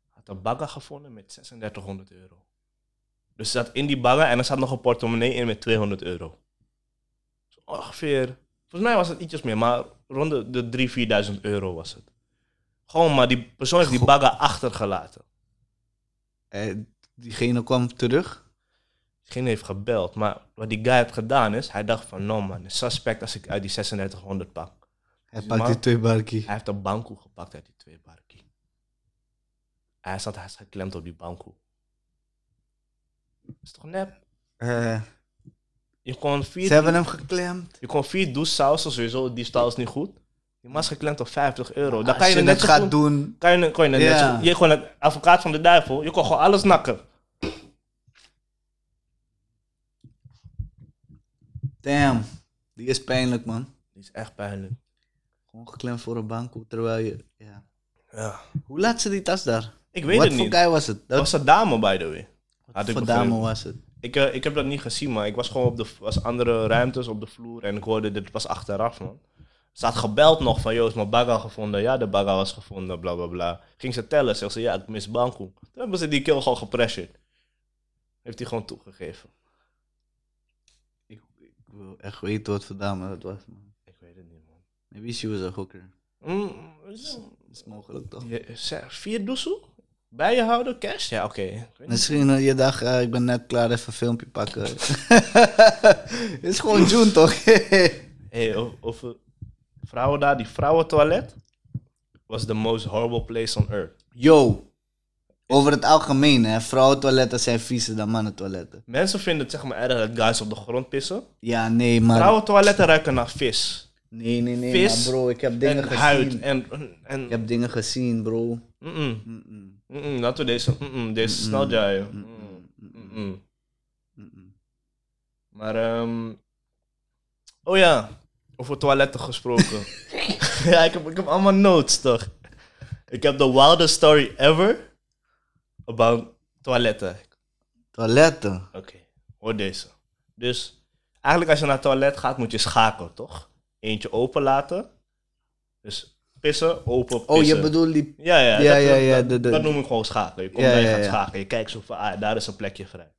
Speaker 2: Had een bagger gevonden met 3600 euro. Dus zat in die bagger en er zat nog een portemonnee in met 200 euro. Dus ongeveer, volgens mij was het ietsjes meer, maar rond de, de 3000, 4000 euro was het. Gewoon, maar die persoon heeft die
Speaker 3: Goh.
Speaker 2: bagger achtergelaten.
Speaker 3: Eh, diegene kwam terug.
Speaker 2: Geen heeft gebeld, maar wat die guy heeft gedaan is, hij dacht van, no man, is suspect als ik uit die 3600 pak.
Speaker 3: Hij
Speaker 2: Dus
Speaker 3: pakt
Speaker 2: maar-
Speaker 3: die twee barkie.
Speaker 2: Hij heeft een bankoe gepakt uit die twee barkie. Hij zat hij is geklemd op die bankoe. Is toch nep?
Speaker 3: Eh,
Speaker 2: Je kon vier,
Speaker 3: ze hebben hem geklemd.
Speaker 2: je kon vier douchesausen, sowieso, die staal is niet goed. Die man is geklemd op 50 euro. Oh, Dan
Speaker 3: Als
Speaker 2: kan je,
Speaker 3: je
Speaker 2: het
Speaker 3: dat
Speaker 2: net
Speaker 3: gaat
Speaker 2: gaat doen.
Speaker 3: doen.
Speaker 2: Kan je, kon je, het net
Speaker 3: Ja.
Speaker 2: zo- je kon het advocaat van de duivel, je kon gewoon alles nakken.
Speaker 3: Damn. Die is pijnlijk, man.
Speaker 2: Die is echt pijnlijk.
Speaker 3: Gewoon geklemd voor een bank. Terwijl je... Ja.
Speaker 2: Ja.
Speaker 3: Hoe laat ze die tas daar?
Speaker 2: Ik weet
Speaker 3: Wat
Speaker 2: het
Speaker 3: voor
Speaker 2: niet.
Speaker 3: guy was het?
Speaker 2: Dat
Speaker 3: Dat,
Speaker 2: was een dame, by the way.
Speaker 3: wat
Speaker 2: had ik
Speaker 3: voor
Speaker 2: begrepen.
Speaker 3: dame was het?
Speaker 2: Ik, eh, ik heb dat niet gezien, maar ik was gewoon op de was andere ruimtes op de vloer en ik hoorde dit pas achteraf, man. Ze had gebeld nog van, joh, is mijn bagger gevonden? Ja, de bagger was gevonden, bla bla bla. Ging ze tellen, zegt ze, ja, ik mis Banco. Toen hebben ze die kill gewoon gepressured. Heeft hij gewoon toegegeven.
Speaker 3: Ik, ik wil echt weten wat voor dame dat was, man.
Speaker 2: Ik weet het niet, man.
Speaker 3: Maybe she was a hooker.
Speaker 2: Mm, is-
Speaker 3: is mogelijk, toch?
Speaker 2: je- ze- vier doezel? Bij je houden, cash? Ja, oké. Ik weet niet.
Speaker 3: Misschien eh, je dacht, eh, ik ben net klaar, even een filmpje pakken. is gewoon June, toch?
Speaker 2: Hey, o- over vrouwen daar, die vrouwentoilet was the most horrible place on earth.
Speaker 3: Yo, Over het algemeen, hè. Vrouwentoiletten zijn viezer dan mannentoiletten.
Speaker 2: Mensen vinden het zeg maar erg dat guys op de grond pissen.
Speaker 3: Ja, nee, maar...
Speaker 2: Vrouwentoiletten ruiken naar vis.
Speaker 3: Nee, nee, nee,
Speaker 2: Vis
Speaker 3: maar bro, ik heb dingen
Speaker 2: En
Speaker 3: gezien.
Speaker 2: huid. En, en
Speaker 3: Ik heb dingen gezien, bro.
Speaker 2: Mm-mm.
Speaker 3: Mm-mm,
Speaker 2: Mm-mm, laten we deze, mm-mm, deze snel draaien. Mm-mm.
Speaker 3: mm-mm, mm-mm,
Speaker 2: Mm-mm.
Speaker 3: mm-mm.
Speaker 2: Maar, ehm oh ja, over toiletten gesproken. ja, ik heb, ik heb allemaal notes toch. Ik heb de wildest story ever about toiletten.
Speaker 3: Toiletten.
Speaker 2: Oké, hoor deze. Dus eigenlijk als je naar het toilet gaat, moet je schakelen, toch? Eentje open laten. Dus pissen, open, pissen.
Speaker 3: Oh, je bedoelt die...
Speaker 2: Ja, ja,
Speaker 3: Ja,
Speaker 2: dat,
Speaker 3: ja,
Speaker 2: dat-
Speaker 3: ja,
Speaker 2: dat-
Speaker 3: de- de-
Speaker 2: dat noem ik gewoon schakelen. Je komt
Speaker 3: Ja,
Speaker 2: daar, je
Speaker 3: ja,
Speaker 2: gaat
Speaker 3: ja.
Speaker 2: schakelen. Je kijkt zo van, ah, daar is een plekje vrij.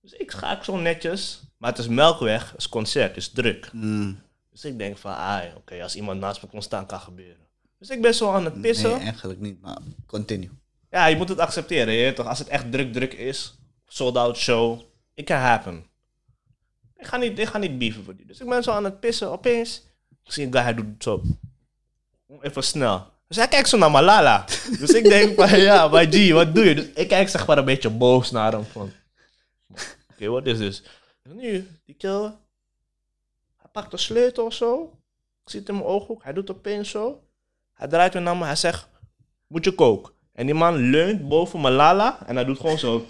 Speaker 2: Dus ik schakel zo netjes. Maar het is Melkweg, het is concert, het is druk.
Speaker 3: Mm,
Speaker 2: Dus ik denk van, ah, oké, als iemand naast me kon staan, kan gebeuren. Dus ik ben zo aan het
Speaker 3: nee,
Speaker 2: pissen.
Speaker 3: eigenlijk niet, maar continue.
Speaker 2: Ja, je moet het accepteren, je weet toch? Als het echt druk, druk is, sold-out show, it can happen. Ik ga niet, ik ga niet beeven voor die. Dus ik ben zo aan het pissen, opeens. Ik zie een guy, hij doet het zo. Even snel. Dus hij kijkt zo naar Malala. Dus ik denk van, ja, maar G, wat doe je? Dus ik kijk zeg maar een beetje boos naar hem van... Oké, wat is dit? En nu, die kill. Hij pakt de sleutel of zo. Ik zie het in mijn ooghoek. Hij doet opeens zo. Hij draait weer naar me. Hij zegt, moet je kook? En die man leunt boven Malala en hij doet gewoon zo.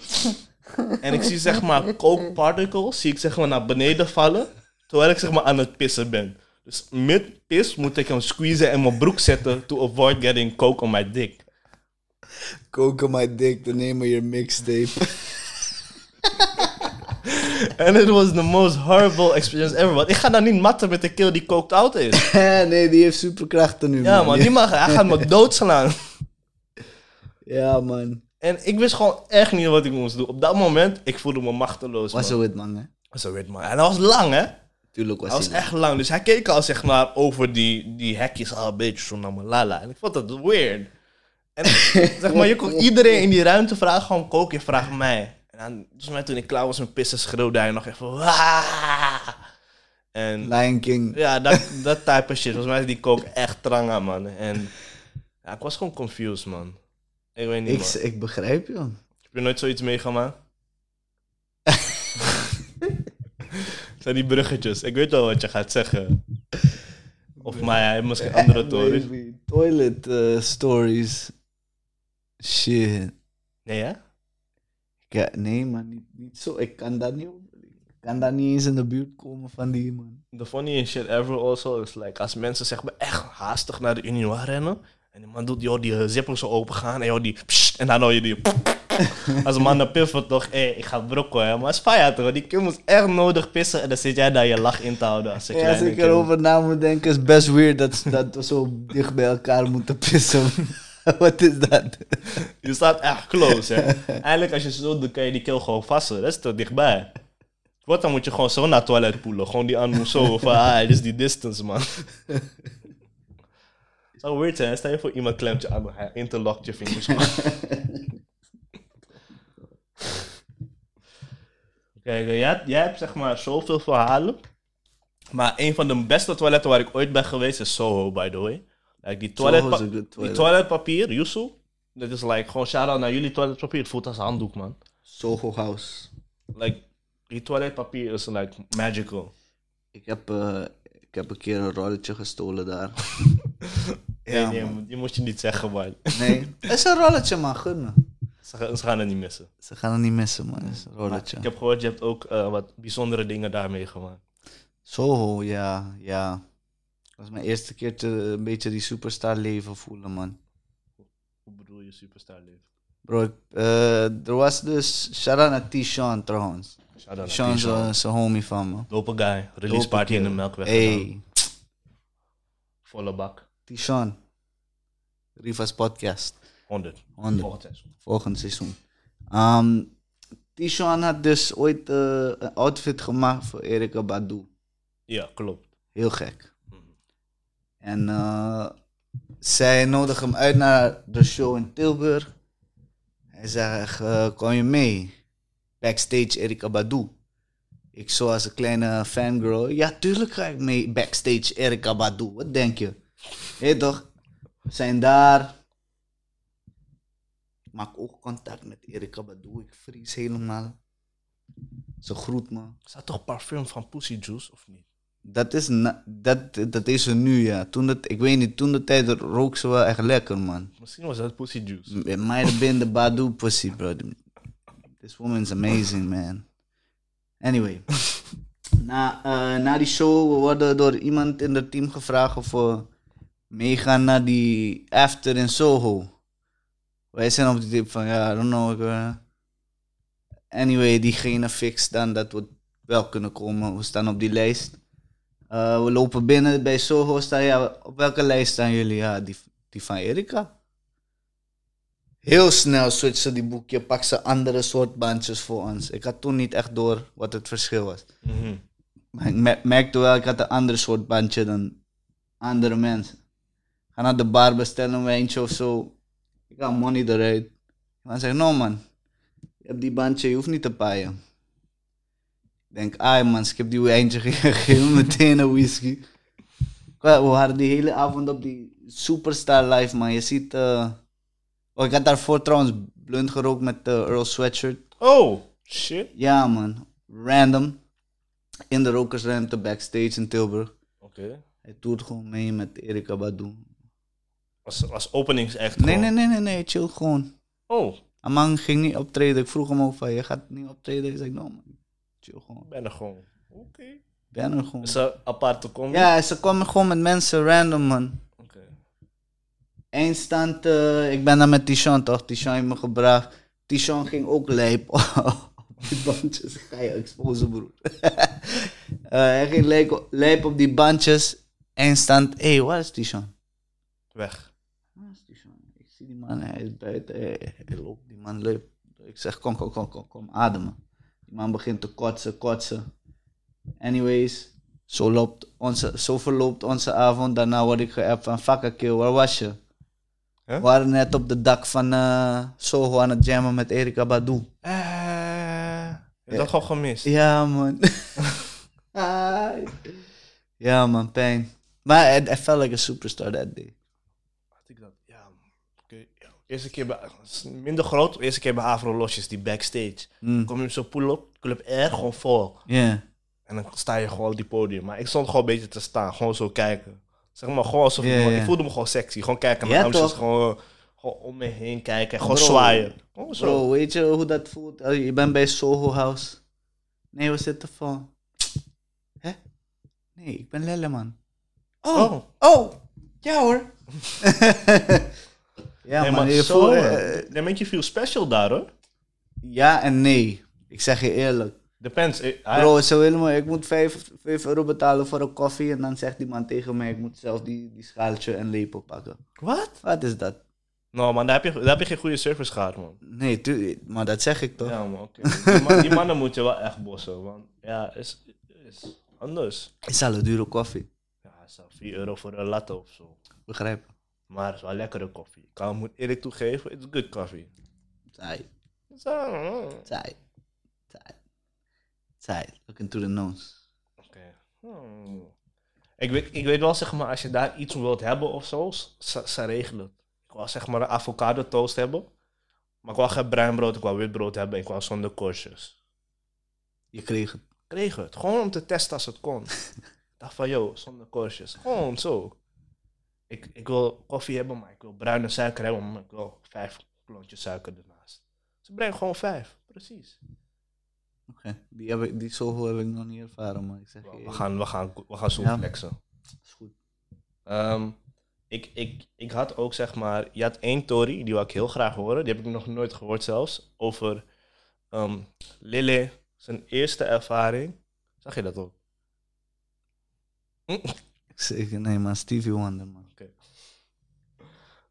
Speaker 2: en ik zie zeg maar coke particles, zie ik zeg maar naar beneden vallen. Terwijl ik zeg maar aan het pissen ben. Dus mid pis moet ik hem squeezen en mijn broek zetten to avoid getting coke on my dick.
Speaker 3: Koken my dick, dan nemen je mixtape.
Speaker 2: En it was the most horrible experience ever. Want ik ga nou niet matten met een kill die coked out is.
Speaker 3: nee, die heeft superkrachten nu,
Speaker 2: Ja man,
Speaker 3: man.
Speaker 2: die mag, hij gaat me doodslaan.
Speaker 3: Ja, man.
Speaker 2: En ik wist gewoon echt niet wat ik moest doen. Op dat moment, ik voelde me machteloos.
Speaker 3: Was
Speaker 2: Man.
Speaker 3: zo het, man, hè.
Speaker 2: Zo weet man. En dat was lang hè.
Speaker 3: Tuurlijk was
Speaker 2: Hij was
Speaker 3: hij
Speaker 2: echt lang, dus hij keek al zeg maar over die, die hekjes al een beetje zo naar Malala. En ik vond dat weird. En zeg maar, je kon iedereen in die ruimte vragen, gewoon kook je vraag mij. En dan, volgens mij toen ik klaar was met pissen, schreeuwde hij nog even "Waaah!" En
Speaker 3: Lion King.
Speaker 2: ja, dat, dat type shit. Volgens mij is die kook echt tranga, man. En ja, ik was gewoon confused, man. Ik weet niet,
Speaker 3: Ik,
Speaker 2: man.
Speaker 3: ik begrijp je.
Speaker 2: Heb je nooit zoiets meegemaakt? zijn die bruggetjes. Ik weet wel wat je gaat zeggen. Of maar ja, misschien andere toren.
Speaker 3: Baby, Toilet eh, stories. Shit.
Speaker 2: Nee, hè?
Speaker 3: Ik, eh, nee, man, niet, niet zo. Ik kan daar niet op- Ik kan daar niet eens in de buurt komen van die man.
Speaker 2: The funniest shit ever also is like als mensen zeg maar echt haastig naar de Unie rennen. En die man doet joh, die eh, zippers zo open gaan en joh, die pssst, en dan hoor je die Als een man dan piffert toch, hé, ik ga brokken hè. Maar is fijn toch, die kind moest echt nodig pissen en dan zit jij daar je lach in te houden als een
Speaker 3: Ja, als
Speaker 2: kleine
Speaker 3: ik
Speaker 2: kind.
Speaker 3: erover na moet denken, is best weird dat, dat we zo dicht bij elkaar moeten pissen. Wat is dat?
Speaker 2: Je staat echt close, hè. Eigenlijk, als je zo doet, kan je die keel gewoon vasten. Dat is te dichtbij. Wat dan moet je gewoon zo naar het toilet poelen. Gewoon die arm zo. Van, ah, dit is die distance, man. Zou weird zijn, hè? Stel je voor iemand klemt je arm en hij interlokt je vingers. man. Kijk, eh, jij, jij hebt zeg maar zoveel verhalen. Maar een van de beste toiletten waar ik ooit ben geweest is Soho, by the way. Like, die, toilet,
Speaker 3: Soho is een good
Speaker 2: die
Speaker 3: toilet.
Speaker 2: toiletpapier, Yusu. Dat is like, gewoon shout-out naar jullie toiletpapier. Het voelt als een handdoek, man.
Speaker 3: Soho House.
Speaker 2: Like, die toiletpapier is like magical.
Speaker 3: Ik heb, eh, ik heb een keer een rolletje gestolen daar.
Speaker 2: Nee,
Speaker 3: Ja,
Speaker 2: nee,
Speaker 3: man.
Speaker 2: die moet je niet zeggen, man.
Speaker 3: Nee. Het is een rolletje, man. Gun me.
Speaker 2: Ze, gaan- ze gaan het niet missen.
Speaker 3: Ze gaan het niet missen, man. Het is een rolletje.
Speaker 2: Ik heb gehoord, je hebt ook eh, wat bijzondere dingen daarmee gemaakt.
Speaker 3: Soho, ja, ja. Dat was mijn eerste keer te, een beetje die superstar leven voelen, man.
Speaker 2: Hoe bedoel je superstar leven?
Speaker 3: Bro, ik- eh, er was dus... Shout-out naar T-Sean, trouwens.
Speaker 2: Shout-out
Speaker 3: Sean
Speaker 2: naar
Speaker 3: is
Speaker 2: T-Sean.
Speaker 3: een- is een homie van me.
Speaker 2: Dope guy. Release
Speaker 3: Dope
Speaker 2: party in de
Speaker 3: kerel.
Speaker 2: Melkweg. gedaan.
Speaker 3: Hey,
Speaker 2: Volle bak.
Speaker 3: T-Sean. Riva's podcast.
Speaker 2: 100.
Speaker 3: 100.
Speaker 2: Volgend seizoen.
Speaker 3: volgend seizoen. Ehm Tishon had dus ooit eh, een outfit gemaakt voor Erika Badu.
Speaker 2: Ja, klopt.
Speaker 3: Heel gek. Mhm. En eh, zij nodigde hem uit naar de show in Tilburg. Hij zegt, eh, kom je mee? Backstage Erika Badu. Ik zo als een kleine fangirl. Ja, tuurlijk ga ik mee. Backstage Erika Badu. Wat denk je? Hé toch? We zijn daar. Ik maak ook contact met Erika Badu. Ik vries helemaal. Ze groet me.
Speaker 2: Is dat toch parfum van Pussy Juice of niet?
Speaker 3: Dat is, na- dat, dat is er nu, ja. Toen dat, ik weet niet, toen de tijd rook ze wel echt lekker, man.
Speaker 2: Misschien was dat Pussy Juice.
Speaker 3: It might have been the Badu pussy, bro. This woman's amazing, man. Anyway. Na, eh, na die show worden door iemand in het team gevraagd of we meegaan naar die after in Soho. Wij zijn op die tip van, ja, I don't know. ik, eh. Anyway, diegene fixt dan dat we wel kunnen komen. We staan op die lijst. Eh, we lopen binnen bij Soho. Staan, ja, op welke lijst staan jullie? Ja, die, die van Erika. Heel snel switcht ze die boekje, pakt ze andere soort bandjes voor ons. Ik had toen niet echt door wat het verschil was.
Speaker 2: Mhm.
Speaker 3: Maar ik mer- merkte wel, ik had een ander soort bandje dan andere mensen. Ga naar de bar bestellen, een wijntje of zo. Ik haal money eruit. Die man zegt, no man, je hebt die bandje, je hoeft niet te paaien. Ik denk, ah man, skip die wijntje, geef me meteen een whisky. Ik wa- We waren die hele avond op die Superstar Live, man. Je ziet... eh, Oh, ik had daarvoor trouwens blunt gerookt met de Earl Sweatshirt.
Speaker 2: Oh, shit.
Speaker 3: Ja, man. Random. In de rokersruimte backstage in Tilburg.
Speaker 2: Oké.
Speaker 3: Hij doet gewoon mee met Erika Badu.
Speaker 2: Was, was openingsact
Speaker 3: Nee,
Speaker 2: gewoon.
Speaker 3: nee, nee, nee, nee. Chill gewoon.
Speaker 2: Oh,
Speaker 3: Amang ging niet optreden. Ik vroeg hem ook van, je gaat niet optreden. Hij zei, no man. Chill
Speaker 2: ik
Speaker 3: gewoon.
Speaker 2: ben er gewoon. Oké.
Speaker 3: Ben er gewoon.
Speaker 2: Is dat aparte combi?
Speaker 3: Ja, ze komen gewoon met mensen. Random, man.
Speaker 2: Oké.
Speaker 3: Eens stand, eh, ik ben daar met Tishan toch? Tishan heeft me gebracht. Tishan ging ook lijp op die bandjes. Ik Ga je exposen, broer. Eh, hij ging lijp, lijp op die bandjes. Eens stand, hé, hey, waar is Tishan?
Speaker 2: Weg.
Speaker 3: Waar Ah, is Tishan? Ik zie die man, hij is buiten. Hij, hij loopt, die man loopt. Ik zeg, kom, kom, kom, kom, kom, ademen. Die man begint te kotsen, kotsen. Anyways, zo, loopt onze, zo verloopt onze avond. Daarna word ik geappt van, fuck kill, waar was je?
Speaker 2: Huh?
Speaker 3: We waren net op de dak van eh, Soho aan het jammen met Erika Badu.
Speaker 2: Eh, je hebt dat gewoon gemist.
Speaker 3: Eh, Ja, man. Ai. ja, man, pijn. Maar I, I felt like a superstar that day.
Speaker 2: Had ik dat? Ja. Oké. ja. Eerste keer bij, het is minder groot, eerste keer bij Avro Losjes, die backstage.
Speaker 3: Mm.
Speaker 2: Kom je zo pull-up, club R, gewoon vol.
Speaker 3: Yeah.
Speaker 2: En dan sta je gewoon op die podium. Maar ik stond gewoon een beetje te staan, gewoon zo kijken. Zeg maar gewoon alsof
Speaker 3: Ja,
Speaker 2: ik,
Speaker 3: ja.
Speaker 2: ik voelde me gewoon sexy. Gewoon kijken
Speaker 3: Ja,
Speaker 2: naar Amsterdam,
Speaker 3: toch?
Speaker 2: gewoon, gewoon om me heen kijken, gewoon
Speaker 3: Bro.
Speaker 2: zwaaien. Gewoon zo.
Speaker 3: Bro, weet je hoe dat voelt? Eh, Je bent bij Soho House. Nee, we zitten van. Hè? Nee, ik ben Lelle, man.
Speaker 2: Oh.
Speaker 3: Oh, ja hoor. ja,
Speaker 2: nee,
Speaker 3: man,
Speaker 2: maar
Speaker 3: je
Speaker 2: zo,
Speaker 3: voelt, eh,
Speaker 2: eh, dat make you feel special daar hoor.
Speaker 3: ja en nee. Ik zeg je eerlijk.
Speaker 2: Depends. Ik, hij-
Speaker 3: Bro, ze willen me, ik moet 5, euro betalen voor een koffie. En dan zegt die man tegen mij, ik moet zelf die, die schaaltje en lepel pakken.
Speaker 2: Wat?
Speaker 3: Wat is dat?
Speaker 2: Nou, man, daar heb, je, daar heb je geen goede service gehad, man.
Speaker 3: Nee, tu- maar dat zeg ik toch?
Speaker 2: Ja, man, oké. Die, man- die mannen moet je wel echt bossen, want ja, is, is anders.
Speaker 3: Is al een dure koffie.
Speaker 2: Ja, het is al 4 euro voor een latte of zo.
Speaker 3: Begrijp.
Speaker 2: Maar het is wel lekkere koffie. Ik kan, moet eerlijk toegeven, het is good koffie.
Speaker 3: Saai,
Speaker 2: Het is, eh, Oké.
Speaker 3: saai, saai. Saai, look into the nose.
Speaker 2: Hmm. Ik, weet, ik weet wel, zeg maar, als je daar iets wilt hebben of zo, ze, ze regelen het. Ik wil zeg maar een avocado toast hebben. Maar ik wil geen bruin brood, ik wil wit brood hebben. Ik wil zonder korstjes.
Speaker 3: Je kreeg het.
Speaker 2: kreeg het. Gewoon om te testen als het kon. ik dacht van, yo, zonder korstjes. Gewoon zo. Ik, ik wil koffie hebben, maar ik wil bruine suiker hebben, maar ik wil vijf klontjes suiker ernaast. Ze brengen gewoon vijf, precies.
Speaker 3: Oké, die, heb ik- die Soho heb ik nog niet ervaren, maar ik zeg je.
Speaker 2: We
Speaker 3: eerlijk,
Speaker 2: gaan, we gaan, we gaan zo
Speaker 3: Ja.
Speaker 2: flexen.
Speaker 3: is goed.
Speaker 2: Ehm, ik, ik, ik had ook zeg maar, je had één Tory, die wil ik heel graag horen, die heb ik nog nooit gehoord zelfs, over ehm Lille, zijn eerste ervaring. Zag je dat ook?
Speaker 3: Ik zeg, nee, maar Stevie Wonder, man.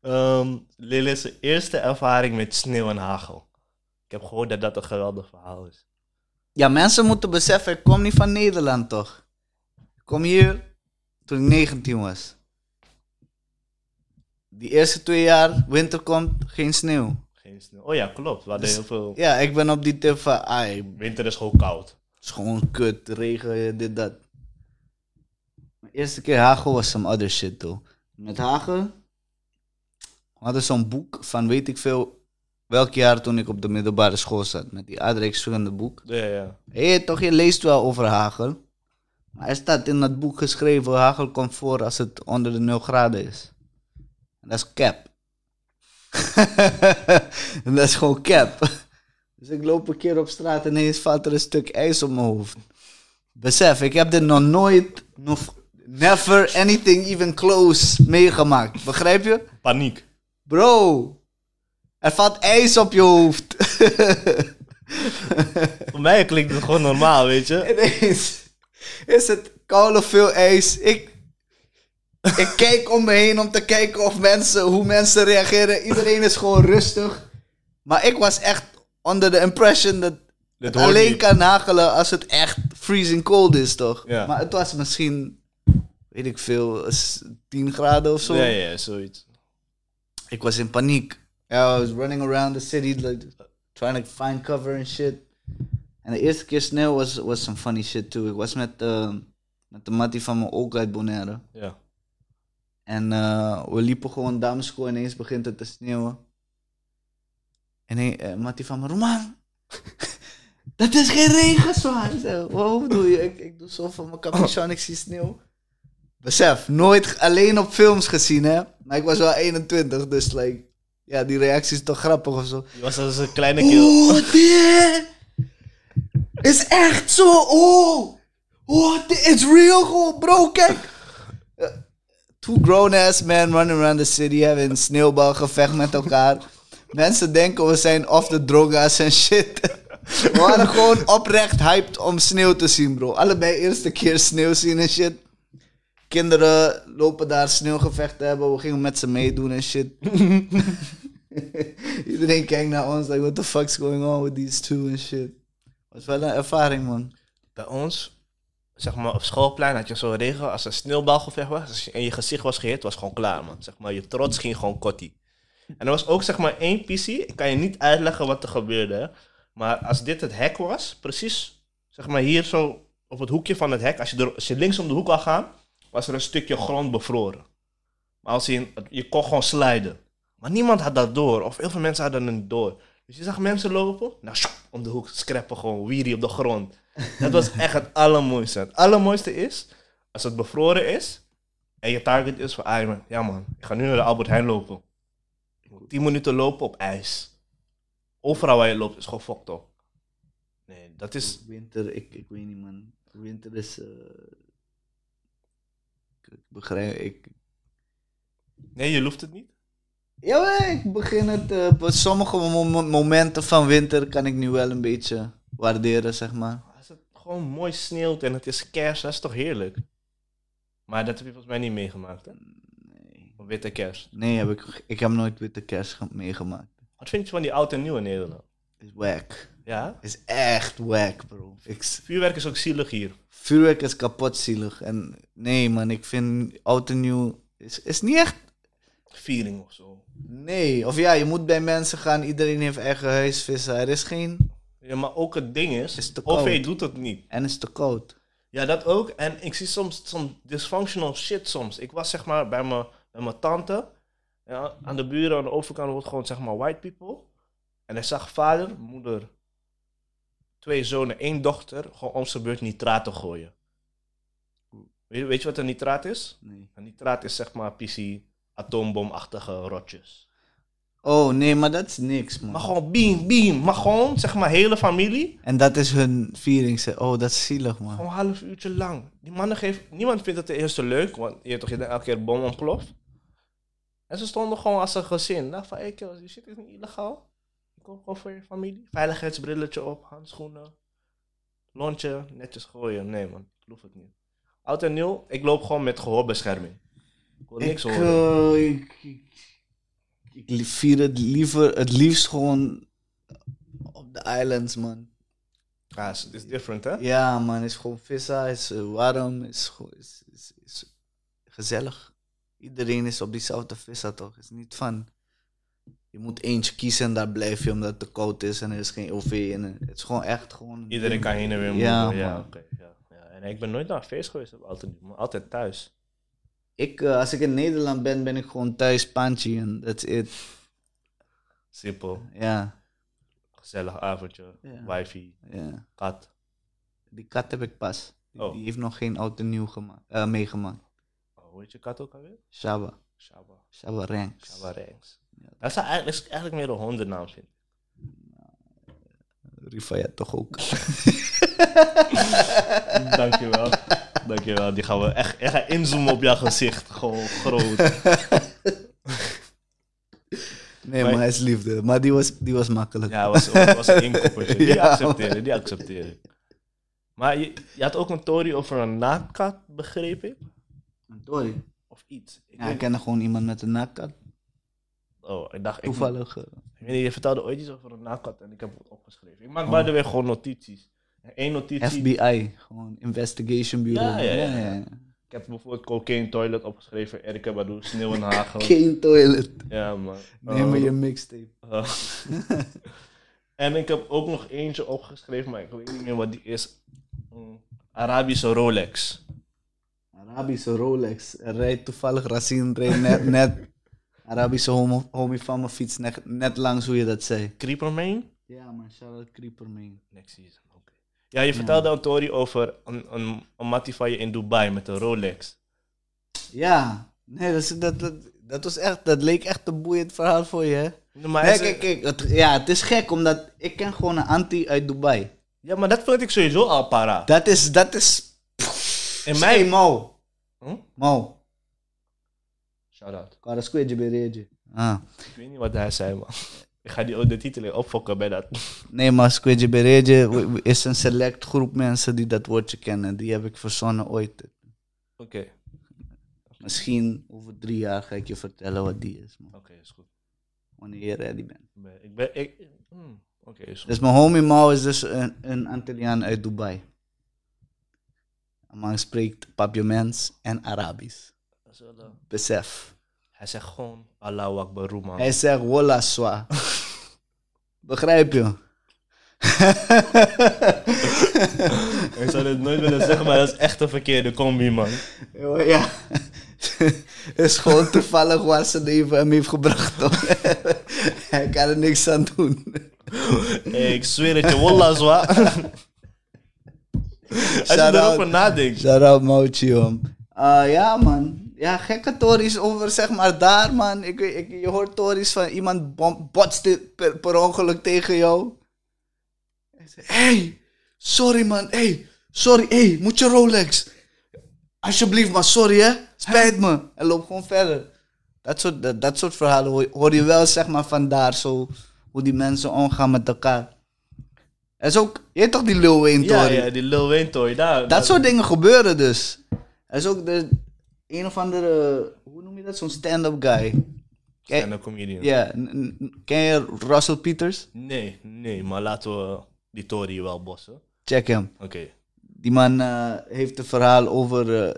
Speaker 2: Ehm Lille is zijn eerste ervaring met sneeuw en hagel. Ik heb gehoord dat dat een geweldig verhaal is.
Speaker 3: Ja, mensen moeten beseffen, ik kom niet van Nederland, toch? Ik kom hier toen ik 19 was. Die eerste twee jaar, winter komt, geen sneeuw.
Speaker 2: Geen sneeuw. Oh ja, klopt. We hadden heel veel.
Speaker 3: Ja, ik ben op die tip van, ai, het
Speaker 2: Winter is gewoon koud.
Speaker 3: is gewoon kut, regen, dit, dat. Mijn eerste keer hagel was some other shit, though. Met hagel, we hadden zo'n boek van weet ik veel, welk jaar toen ik op de middelbare school zat met die aardrijkskunde boek.
Speaker 2: Ja, ja.
Speaker 3: Hé, toch, je leest wel over hagel. Maar er staat in dat boek geschreven, hagel komt voor als het onder de 0 graden is. En dat is cap. en dat is gewoon cap. Dus ik loop een keer op straat en ineens valt er een stuk ijs op mijn hoofd. Besef, ik heb dit nog nooit, nog, never anything even close meegemaakt. Begrijp je?
Speaker 2: Paniek.
Speaker 3: Bro, er valt ijs op je hoofd.
Speaker 2: Voor mij klinkt het gewoon normaal, weet je.
Speaker 3: Ineens is het koud of veel ijs. Ik, ik kijk om me heen om te kijken of mensen, hoe mensen reageren. Iedereen is gewoon rustig. Maar ik was echt onder de impression dat
Speaker 2: Dit
Speaker 3: het
Speaker 2: hoort
Speaker 3: alleen
Speaker 2: niet.
Speaker 3: kan hagelen als het echt freezing cold is, toch?
Speaker 2: Ja.
Speaker 3: Maar het was misschien, weet ik veel, s- 10 graden of zo.
Speaker 2: Ja, ja, zoiets.
Speaker 3: Ik was in paniek. Ja, I was running around the city, like, trying to find cover and shit. En de eerste keer sneeuw was, was some funny shit too. Ik was met, eh, met de mattie van mijn ook uit Bonaire.
Speaker 2: Ja.
Speaker 3: En eh, we liepen gewoon damesschool en ineens begint het te sneeuwen. En hij, eh, Mattie van me, Roman, dat is geen regenzwaar. Ik zeg, Wat bedoel je? Ik, ik doe zo van mijn capuchon, ik zie sneeuw. Besef, nooit g- alleen op films gezien, hè. Maar ik was wel 21, dus like, ja, die reactie is toch grappig of zo.
Speaker 2: Je was als een kleine keel.
Speaker 3: Oh, dit is echt zo. Oh, oh dit is real gewoon, bro. Kijk. Eh, Two grown-ass men running around the city hebben een sneeuwbalgevecht met elkaar. Mensen denken we zijn off de droga's en shit. We waren gewoon oprecht hyped om sneeuw te zien, bro. Allebei eerste keer sneeuw zien en shit. Kinderen lopen daar sneeuwgevecht te hebben. We gingen met ze meedoen en shit. Iedereen kijkt naar ons, like, what the fuck's going on with these two and shit. Was wel een ervaring, man.
Speaker 2: Bij ons, zeg maar op schoolplein had je zo'n regel. Als er sneeuwbalgevecht was als je- en je gezicht was gehit, was gewoon klaar, man. Zeg maar, je trots ging gewoon kotti. En er was ook zeg maar één pissie. Ik kan je niet uitleggen wat er gebeurde. hè. Maar als dit het hek was, precies zeg maar hier zo op het hoekje van het hek. Als je, er, als je links om de hoek wou gaan, was er een stukje grond bevroren. Maar als je, je kon gewoon sliden. Maar niemand had dat door. Of heel veel mensen hadden het niet door. Dus je zag mensen lopen. Nou, sjoep, om de hoek scrappen gewoon. Wierie op de grond. Dat was echt het allermooiste. Het allermooiste is, als het bevroren is. En je target is van, ah, man, ja man, ik ga nu naar de Albert Heijn lopen. Ik moet 10 minuten lopen op ijs. Overal waar je loopt is gewoon fucked up. Nee, dat is...
Speaker 3: Winter, ik, ik weet niet, man. Winter is. eh, Ik begrijp. Ik...
Speaker 2: Nee, je hoeft het niet.
Speaker 3: Jawel, ik begin het. eh, op sommige mo- mo- momenten van winter kan ik nu wel een beetje waarderen, zeg maar.
Speaker 2: Als het gewoon mooi sneeuwt en het is kerst, dat is toch heerlijk? Maar dat heb je volgens mij niet meegemaakt, hè?
Speaker 3: Nee,
Speaker 2: Een witte kerst.
Speaker 3: nee heb ik, ik heb nooit witte kerst ge- meegemaakt.
Speaker 2: Wat vind je van die oud en nieuw in Nederland?
Speaker 3: Is wack.
Speaker 2: Ja?
Speaker 3: Is echt wack, bro. Ik,
Speaker 2: Vuurwerk is ook zielig hier.
Speaker 3: Vuurwerk is kapot zielig. En nee, man, ik vind oud en nieuw is, is niet echt.
Speaker 2: Viering of zo.
Speaker 3: Nee, of ja, je moet bij mensen gaan. Iedereen heeft eigen huisvissen. Er is geen.
Speaker 2: Ja, maar ook het ding is,
Speaker 3: Is te
Speaker 2: OV
Speaker 3: koud.
Speaker 2: doet het niet.
Speaker 3: En het is te koud.
Speaker 2: Ja, dat ook. En ik zie soms, soms dysfunctional shit soms. Ik was zeg maar bij mijn, bij mijn tante. Ja, aan de buren aan de overkant wordt gewoon zeg maar white people. En hij zag vader, moeder, twee zonen, één dochter gewoon om zijn beurt nitraten gooien. Weet, weet je wat een nitraat is?
Speaker 3: Nee.
Speaker 2: Een nitraat is zeg maar PC atoombomachtige rotjes.
Speaker 3: Oh nee, maar dat is niks,
Speaker 2: Maar
Speaker 3: man.
Speaker 2: gewoon beam, beam. Maar gewoon zeg maar hele familie.
Speaker 3: En dat is hun viering. ze- Oh, dat is zielig, man.
Speaker 2: Gewoon een half uurtje lang. Die mannen geven... Niemand vindt het de eerste leuk, want je hebt toch je denkt elke keer bom ontploft. En ze stonden gewoon als een gezin. Nou, van, hey, kill, die shit is niet illegaal. Ik kom gewoon voor je familie. Veiligheidsbrilletje op, handschoenen. Lontje, netjes gooien. Nee man, ik geloof het niet. Oud en nieuw, ik loop gewoon met gehoorbescherming. Ik wil niks
Speaker 3: ik,
Speaker 2: horen.
Speaker 3: eh, ik, ik, ik li- vier het liever, het liefst gewoon op de islands, man.
Speaker 2: Ja, Ah, het is different hè?
Speaker 3: Ja, man, is gewoon vissa, is eh, warm, is, go- is, is, is gezellig. Iedereen is op diezelfde vissa toch? Is niet van. Je moet eentje kiezen en daar blijf je omdat het te koud is en er is geen OV. En eh, het is gewoon echt gewoon.
Speaker 2: Iedereen kan heen en weer
Speaker 3: Ja,
Speaker 2: moeven. Ja,
Speaker 3: man.
Speaker 2: oké. ja, ja. En ik ben nooit naar een feest geweest op oud en nieuw, maar altijd thuis.
Speaker 3: Ik, eh, als ik in Nederland ben, ben ik gewoon thuis Panchi en that's it.
Speaker 2: Simpel.
Speaker 3: Ja,
Speaker 2: Gezellig avondje.
Speaker 3: Ja.
Speaker 2: Wifi,
Speaker 3: ja.
Speaker 2: kat.
Speaker 3: Die kat heb ik pas. Die,
Speaker 2: Oh.
Speaker 3: die heeft nog geen oud en nieuw gema- eh, meegemaakt.
Speaker 2: Oh, hoe heet je kat ook alweer?
Speaker 3: Shaba.
Speaker 2: Shaba.
Speaker 3: Shaba Ranks.
Speaker 2: Shaba Ranks.
Speaker 3: Ja.
Speaker 2: Dat zou eigenlijk, is eigenlijk meer een hondennaam vind ik.
Speaker 3: Rifayat toch ook.
Speaker 2: Dankjewel. Dankjewel. Die gaan we echt, echt gaan inzoomen op jouw gezicht. Gewoon groot.
Speaker 3: Nee,
Speaker 2: Maar-
Speaker 3: maar hij is liefde. Maar die was, die was makkelijk.
Speaker 2: Ja, was, was een inkoppertje. Die
Speaker 3: Ja,
Speaker 2: accepteer ik, die accepteer ik. Maar je, je had ook een tory over een naakkat, begreep ik?
Speaker 3: Sorry.
Speaker 2: Of iets. Ik
Speaker 3: Ja,
Speaker 2: weet-
Speaker 3: ik kende gewoon iemand met een naakkat.
Speaker 2: Oh, ik dacht... Ik,
Speaker 3: Toevallig. eh,
Speaker 2: Ik weet niet, je vertelde ooit iets over een naakkat en ik heb het opgeschreven. Ik maak by the way gewoon notities. Eén notitie.
Speaker 3: FBI. Gewoon Investigation Bureau.
Speaker 2: Ja, ja, ja, ja. Ik heb bijvoorbeeld Cocaine Toilet opgeschreven, Erika Badu, Sneeuw en Hagel.
Speaker 3: Geen toilet.
Speaker 2: ja, man.
Speaker 3: Neem
Speaker 2: Oh.
Speaker 3: maar je mixtape.
Speaker 2: Eh, en ik heb ook nog eentje opgeschreven, maar ik weet niet meer wat die is. Mm, Arabische Rolex.
Speaker 3: Arabische Rolex. Er rijdt toevallig Racine reed net, net. Arabische homo, homie van mijn fiets net, net langs hoe je dat zei.
Speaker 2: Creeperman?
Speaker 3: Ja, maar Charlotte Creeper mee.
Speaker 2: Next season, oké. Ja, je vertelde aan Tori over een, een, een mattie van je in Dubai met een Rolex.
Speaker 3: Ja. Nee, dat, is- dat, dat, dat was echt, dat leek echt een boeiend verhaal voor je. hè?
Speaker 2: Maar
Speaker 3: Nee,
Speaker 2: is-
Speaker 3: kijk, kijk, het, ja, het is gek, omdat ik ken gewoon een anti uit Dubai.
Speaker 2: Ja, maar dat vind ik sowieso al para.
Speaker 3: Dat is, dat is...
Speaker 2: In
Speaker 3: Hey,
Speaker 2: mijn...
Speaker 3: Mau.
Speaker 2: Hm?
Speaker 3: Mau.
Speaker 2: Shout-out.
Speaker 3: Karaskuetje bereedje. Ah.
Speaker 2: Ik weet niet wat hij zei, man. Ik ga die oude titel weer opfokken bij dat.
Speaker 3: Nee, maar Squidje Bereje w- w- is een select groep mensen die dat woordje kennen. Die heb ik verzonnen ooit.
Speaker 2: Oké,
Speaker 3: Misschien over drie jaar ga ik je vertellen wat die is, man.
Speaker 2: oké, is goed.
Speaker 3: Wanneer je ready bent.
Speaker 2: Ik ben... Ik ben ik, hmm, Oké, is goed.
Speaker 3: Dus mijn homie Mao is dus een, een Antilliaan uit Dubai. Maar hij spreekt Papiaments en Arabisch.
Speaker 2: Dat is wel,
Speaker 3: Dus-
Speaker 2: eh,
Speaker 3: Besef.
Speaker 2: Hij zegt gewoon Allahu Akbar, roe, man.
Speaker 3: Hij zegt Walla Swa. Begrijp je?
Speaker 2: Ik zou dit nooit willen zeggen, maar dat is echt een verkeerde combi, man.
Speaker 3: Ja. Het is gewoon toevallig waar ze even hem heeft gebracht. toch? Hij kan er niks aan doen.
Speaker 2: Hey, ik zweer het je, wallah, zwa. Als je
Speaker 3: Shout-out.
Speaker 2: erover nadenkt.
Speaker 3: Shout out Mauchi, man. Ah, ja, man. Ja, gekke tories over, zeg maar, daar, man. Ik, weet- ik, je hoort tories van iemand bom, botst per, per ongeluk tegen jou. Hij zegt, hey, sorry, man. Hey, sorry. Hey, moet je Rolex? Alsjeblieft, maar sorry, hè. Spijt me. En loop gewoon verder. Dat soort, dat, dat soort verhalen hoor, je- hoor je wel, zeg maar, vandaar. Zo, hoe die mensen omgaan met elkaar. Er is ook, je hebt toch die Lil Wayne
Speaker 2: Ja,
Speaker 3: tory?
Speaker 2: ja, die Lil Wayne toy, daar.
Speaker 3: Dat soort dingen gebeuren dus. Er is ook de een of andere, hoe noem je dat, zo'n stand-up guy. Ken-
Speaker 2: En een comedian.
Speaker 3: Ja, n- n- ken je Russell Peters?
Speaker 2: Nee, nee, maar laten we die tory wel bossen. Oké.
Speaker 3: Check hem. Die man eh, heeft een verhaal over eh,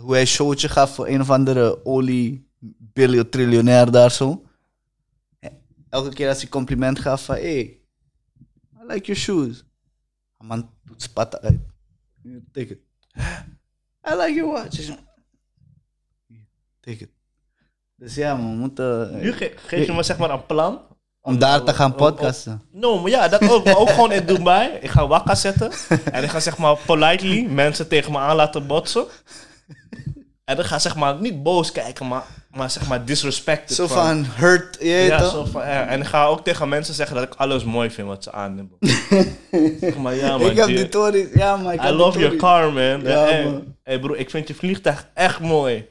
Speaker 3: hoe hij een showtje gaf voor een of andere olie triljonair daar zo. Elke keer als hij compliment gaf van, hey, I like your shoes. Een man doet spat uit. Ja, Take it. I like your watch. Hij zo, "Hier, Take it. Dus ja, man, we moeten... eh,
Speaker 2: Nu ge- geef je me zeg maar een plan.
Speaker 3: om daar te gaan
Speaker 2: om- om-
Speaker 3: podcasten.
Speaker 2: No, maar ja, dat ook. Maar ook gewoon in Dubai. Ik ga wakka zetten. En ik ga zeg maar politely mensen tegen me aan laten botsen. En dan ga zeg maar niet boos kijken, maar, maar zeg maar disrespected.
Speaker 3: Zo van, hurt, je weet
Speaker 2: ja,
Speaker 3: toch?
Speaker 2: zo van, ja. En ik ga ook tegen mensen zeggen dat ik alles mooi vind wat ze aan hebben. zeg maar ja, man.
Speaker 3: ik heb
Speaker 2: die-
Speaker 3: die tories, ja, maar ik
Speaker 2: I
Speaker 3: heb die
Speaker 2: love your
Speaker 3: tories.
Speaker 2: car, man.
Speaker 3: Ja,
Speaker 2: Ja, hey,
Speaker 3: man.
Speaker 2: hey, broer, ik vind je vliegtuig echt mooi.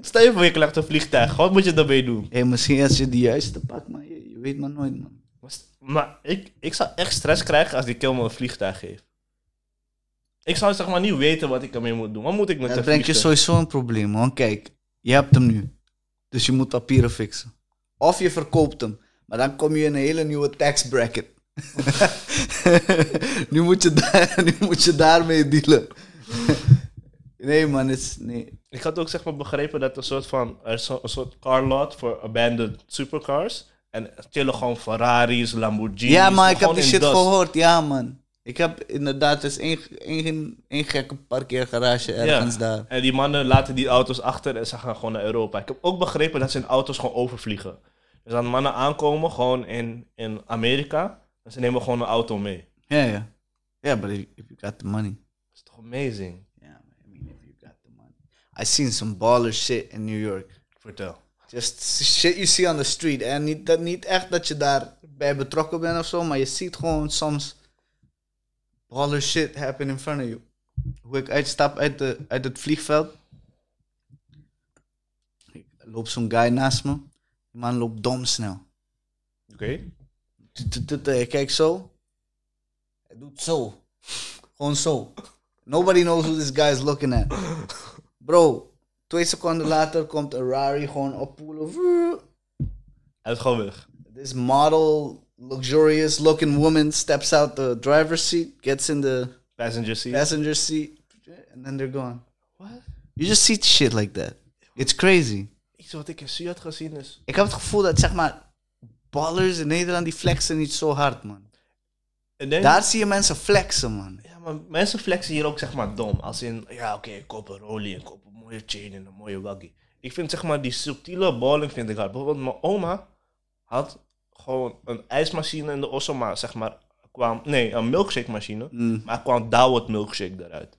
Speaker 2: Stel je voor, je krijgt een vliegtuig. Wat moet je daarmee doen?
Speaker 3: Hé, misschien als je de juiste pakt, maar je, je weet maar nooit, man.
Speaker 2: Maar st- Maar ik, ik zou echt stress krijgen als die kill me een vliegtuig geeft. Ik zou zeg maar niet weten wat ik ermee moet doen. Wat moet ik met
Speaker 3: Dan
Speaker 2: een
Speaker 3: breng je
Speaker 2: vliegtuig?
Speaker 3: sowieso een probleem, man. Kijk, je hebt hem nu. Dus je moet papieren fixen. Of je verkoopt hem. Maar dan kom je in een hele nieuwe tax bracket. nu, moet je daar, nu moet je daarmee dealen. nee, man, het is... Nee.
Speaker 2: Ik had ook zeg maar begrepen dat er een soort van er is zo- een soort car lot voor abandoned supercars. En er chillen gewoon Ferraris, Lamborghinis.
Speaker 3: Ja, maar ik heb
Speaker 2: gewoon
Speaker 3: die
Speaker 2: in
Speaker 3: shit
Speaker 2: dust.
Speaker 3: gehoord. Ja, man. Ik heb inderdaad, er is één, één, één gekke parkeergarage ergens
Speaker 2: Ja.
Speaker 3: daar.
Speaker 2: En die mannen laten die auto's achter en ze gaan gewoon naar Europa. Ik heb ook begrepen dat ze in auto's gewoon overvliegen. Dus dat mannen aankomen gewoon in, in Amerika. En ze nemen gewoon een auto mee.
Speaker 3: Ja, ja. Ja, but if if you got the money.
Speaker 2: Dat is toch amazing?
Speaker 3: Yeah, man, I mean, if you got the money. I seen some baller shit in New York.
Speaker 2: Vertel.
Speaker 3: Just shit you see on the street. En niet, dat, niet echt dat je daarbij betrokken bent of zo, maar je ziet gewoon soms baller shit happen in front of you. Hoe ik uitstap uit, de, uit het vliegveld. Ik loop zo'n guy naast me. Die man loopt dom snel.
Speaker 2: Oké.
Speaker 3: Tut, tut, tut, eh, Ik kijk zo. Hij doet zo. Gewoon zo. Nobody knows who this guy is looking at. Bro, twee seconden later komt een Rari gewoon oppoelen. Vroom.
Speaker 2: Hij is gewoon weg.
Speaker 3: This model, luxurious looking woman steps out the driver's seat, gets in the
Speaker 2: Passenger seat.
Speaker 3: passenger seat, and then they're gone.
Speaker 2: What?
Speaker 3: You just see shit like that. It's crazy.
Speaker 2: Iets wat ik in Su had gezien is...
Speaker 3: Ik heb het gevoel dat, zeg maar, ballers in Nederland die flexen niet zo hard, man.
Speaker 2: Ik denk,
Speaker 3: Daar zie je mensen flexen, man.
Speaker 2: Ja, maar mensen flexen hier ook zeg maar dom. Als in, ja oké, ik koop een rolie, ik koop een mooie chain en een mooie waggie. Ik vind zeg maar die subtiele balling vind ik hard. Bijvoorbeeld mijn oma had gewoon een ijsmachine in de osso, maar zeg maar kwam... Nee, een milkshake machine,
Speaker 3: Mm,
Speaker 2: maar kwam Dawet milkshake eruit.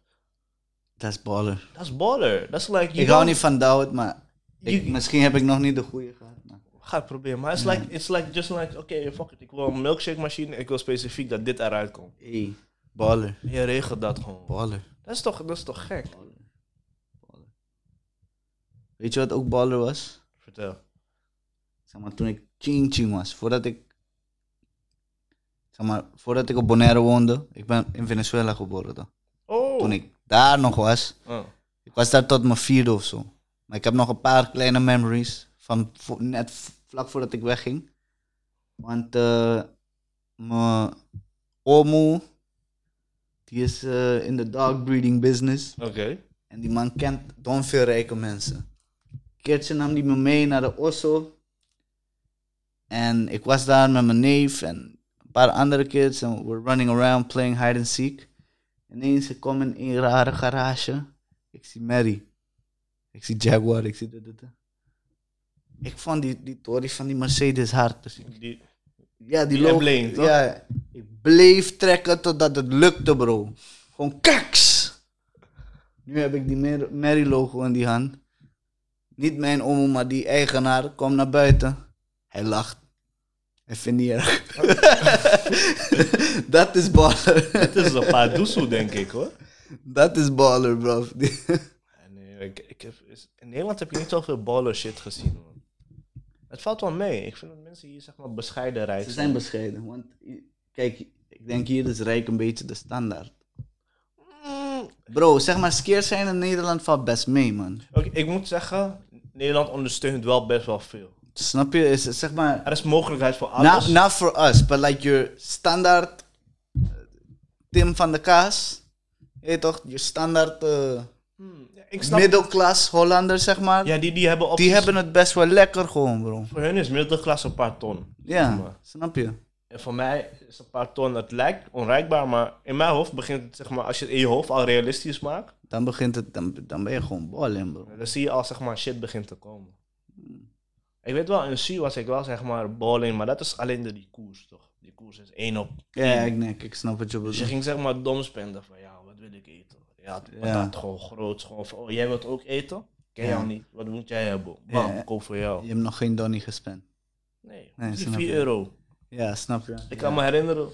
Speaker 3: Dat is baller.
Speaker 2: Dat is baller. Dat is like... you
Speaker 3: Ik hou
Speaker 2: don't-
Speaker 3: niet van Doubt, maar ik,
Speaker 2: Je-
Speaker 3: misschien heb ik nog niet Mm. de goede gehad. maar-
Speaker 2: Ga het proberen. Maar it's like, it's like just like, oké, fuck it. Ik wil een milkshake machine en ik wil specifiek dat dit eruit komt.
Speaker 3: Hey, baller.
Speaker 2: Je regelt dat gewoon.
Speaker 3: Baller.
Speaker 2: Dat is toch, dat is toch gek?
Speaker 3: Weet je wat ook baller was?
Speaker 2: Vertel.
Speaker 3: Zeg maar, toen ik ching ching was, voordat ik... Zeg maar, voordat ik op Bonaire woonde, ik ben in Venezuela geboren dan.
Speaker 2: Oh!
Speaker 3: Toen ik daar nog was,
Speaker 2: Oh.
Speaker 3: ik was daar tot mijn vierde of zo. Maar ik heb nog een paar kleine memories van vo- net v- vlak voordat ik wegging. Want eh, mijn omo, die is eh, in de dog breeding business.
Speaker 2: Oké.
Speaker 3: En die man kent don veel rijke mensen. Een keertje nam die me mee naar de Osso. En ik was daar met mijn neef en een paar andere kids. En we were running around playing hide and seek. Ineens, ik kom in een rare garage. Ik zie Mary. Ik zie Jaguar. Ik zie dit, dit, dit. Ik vond die, die tory van die Mercedes hard. Dus ik-
Speaker 2: Die,
Speaker 3: ja, die,
Speaker 2: Die
Speaker 3: loop-
Speaker 2: embleem, toch?
Speaker 3: Ja, ik bleef trekken totdat het lukte, bro. Gewoon kaks. Nu heb ik die Mer- Merry logo in die hand. Niet mijn omo, maar die eigenaar. Kom naar buiten. Hij lacht. Hij vindt niet erg. Dat is baller.
Speaker 2: het is een paar doezoe, denk ik hoor.
Speaker 3: Dat is baller, bro.
Speaker 2: Ja, Nee, eh, ik, ik heb, is- in Nederland heb je niet zoveel baller shit gezien. Man. Het valt wel mee. Ik vind dat mensen hier zeg maar bescheiden
Speaker 3: Ze
Speaker 2: reizen.
Speaker 3: zijn bescheiden. Want kijk, ik denk hier is rijk een beetje de standaard.
Speaker 2: Mm,
Speaker 3: Bro, zeg maar, skeer zijn in Nederland valt best mee, man.
Speaker 2: Oké, ik moet zeggen, Nederland ondersteunt wel best wel veel.
Speaker 3: Snap je? Is, zeg maar,
Speaker 2: Er is mogelijkheid voor alles.
Speaker 3: Not, not for us, but like your standaard eh, Tim van de Kaas. Je weet toch, je standaard eh,
Speaker 2: Hmm, ja, ik snap.
Speaker 3: middelklas Hollander, zeg maar.
Speaker 2: Ja, die, die hebben op.
Speaker 3: die hebben het best wel lekker gewoon, bro.
Speaker 2: Voor hun is middelklasse een paar ton.
Speaker 3: Ja,
Speaker 2: maar.
Speaker 3: snap je?
Speaker 2: En voor mij is een paar ton, het lijkt onrijkbaar, maar in mijn hoofd begint het, zeg maar, als je het in je hoofd al realistisch maakt,
Speaker 3: Dan begint het, dan, dan ben je gewoon ballen, bro.
Speaker 2: dan zie je al, zeg maar, shit begint te komen.
Speaker 3: Hmm.
Speaker 2: Ik weet wel, in Su was ik wel, zeg maar, balling, maar dat is alleen door die koers, toch? Die koers is één op.
Speaker 3: Ja, ik, nee, ik snap wat je
Speaker 2: Dus je
Speaker 3: bedoelt.
Speaker 2: ging, zeg maar, dom spenden van, ja, wat wil ik eten? Ja, het
Speaker 3: Ja.
Speaker 2: patat gewoon groot, gewoon van, oh, jij wilt ook eten? Ken
Speaker 3: Ja.
Speaker 2: jou niet, wat moet jij hebben? Bam,
Speaker 3: Ja.
Speaker 2: koop voor jou.
Speaker 3: Je hebt nog geen donnie gespend.
Speaker 2: Nee,
Speaker 3: Nee,
Speaker 2: die
Speaker 3: snap
Speaker 2: 4
Speaker 3: ik.
Speaker 2: euro.
Speaker 3: Ja, snap je?
Speaker 2: Ik kan me herinneren,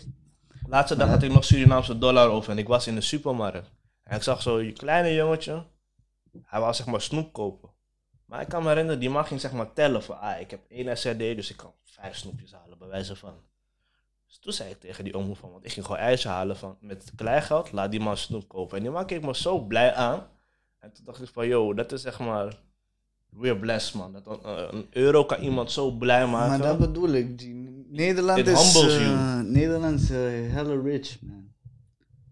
Speaker 2: laatste dag had ik nog Surinaamse dollar over en ik was in de supermarkt. En ik zag zo'n kleine jongetje, hij wou zeg maar snoep kopen. Maar ik kan me herinneren, die man ging zeg maar tellen van, ah, ik heb één SRD, dus ik kan vijf snoepjes halen, bij wijze van. Dus toen zei ik tegen die oom van, want ik ging gewoon ijs halen van, met kleingeld, laat die man snoep kopen. En die man keek me zo blij aan. En toen dacht ik van, yo, dat is zeg maar, weer blessed man. Dat, een- een euro kan iemand zo blij maken.
Speaker 3: Maar dat bedoel ik. Die Nederland
Speaker 2: It
Speaker 3: is,
Speaker 2: humbles
Speaker 3: eh,
Speaker 2: you.
Speaker 3: Nederland is eh, hella rich, man.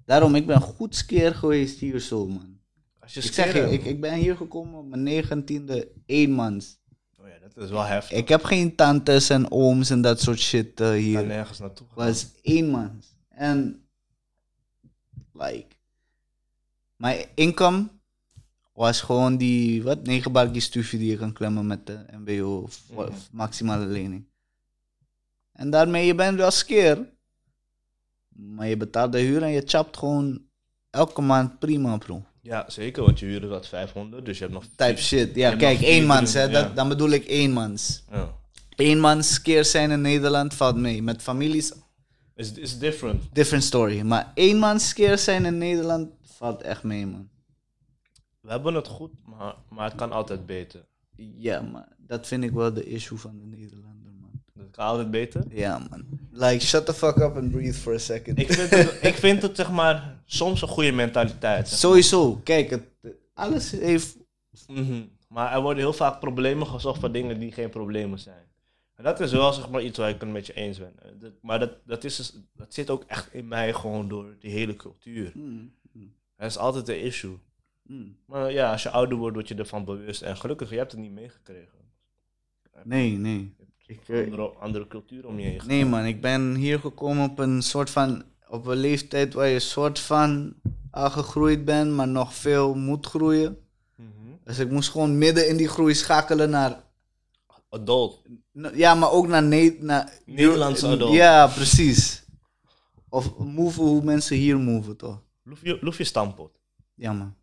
Speaker 3: Daarom, ik ben goed skeer geweest hier zo, man.
Speaker 2: Als je
Speaker 3: Ik zeg je,
Speaker 2: skeren-
Speaker 3: ik, ik ben hier gekomen op mijn negentiende eenmans.
Speaker 2: Oh ja, dat is wel heftig.
Speaker 3: Ik heb geen tantes en ooms en dat soort shit eh,
Speaker 2: Ik
Speaker 3: hier.
Speaker 2: ben nergens naartoe gegaan.
Speaker 3: was eenmans. En, like, mijn income was gewoon die, wat, negen barkjes stufie die je kan klemmen met de MBO, voor- maximale lening. En daarmee, je bent wel skeer. Maar je betaalt de huur en je chapt gewoon elke maand prima, bro.
Speaker 2: Ja, zeker, want je huur is wat 500, dus je hebt nog...
Speaker 3: Type shit. Ja,
Speaker 2: hebt
Speaker 3: kijk,
Speaker 2: nog vier
Speaker 3: eenmans,
Speaker 2: te
Speaker 3: hè.
Speaker 2: doen, ja.
Speaker 3: Dat, dan bedoel ik eenmans.
Speaker 2: Ja.
Speaker 3: Eenmans skeer zijn in Nederland valt mee. Met families,
Speaker 2: Is is different.
Speaker 3: different story. Maar eenmans skeer zijn in Nederland valt echt mee, man.
Speaker 2: We hebben het goed, maar, maar het kan altijd beter.
Speaker 3: Ja, maar dat vind ik wel de issue van de Nederlander, man.
Speaker 2: Het kan altijd beter.
Speaker 3: Ja, man. Like, shut the fuck up and breathe for a second.
Speaker 2: Ik vind het, ik vind het zeg maar, soms een goede mentaliteit. zeg.
Speaker 3: Sowieso, kijk, het, alles heeft...
Speaker 2: Mhm. Maar er worden heel vaak problemen gezocht van dingen die geen problemen zijn. En dat is wel zeg maar iets waar ik het met je eens ben. Eh, dat- Maar dat, dat, is, dus- dat zit ook echt in mij gewoon door die hele cultuur.
Speaker 3: Mm,
Speaker 2: Dat is altijd een issue.
Speaker 3: mm.
Speaker 2: Maar ja, als je ouder wordt, word je ervan bewust. En gelukkig, je hebt het niet meegekregen.
Speaker 3: Nee, nee. Ik, eh,
Speaker 2: Andere, andere cultuur om je heen.
Speaker 3: nee, man, ik ben hier gekomen op een soort van... Op een leeftijd waar je soort van al gegroeid bent, maar nog veel moet groeien.
Speaker 2: Mhm.
Speaker 3: Dus ik moest gewoon midden in die groei schakelen naar
Speaker 2: Adult.
Speaker 3: Nou, Ja, maar ook naar, ne naar
Speaker 2: Nederlandse
Speaker 3: Euro-
Speaker 2: adult.
Speaker 3: Ja, precies. Of move hoe mensen hier move, toch?
Speaker 2: Loef je, loef je stampot.
Speaker 3: Ja, man.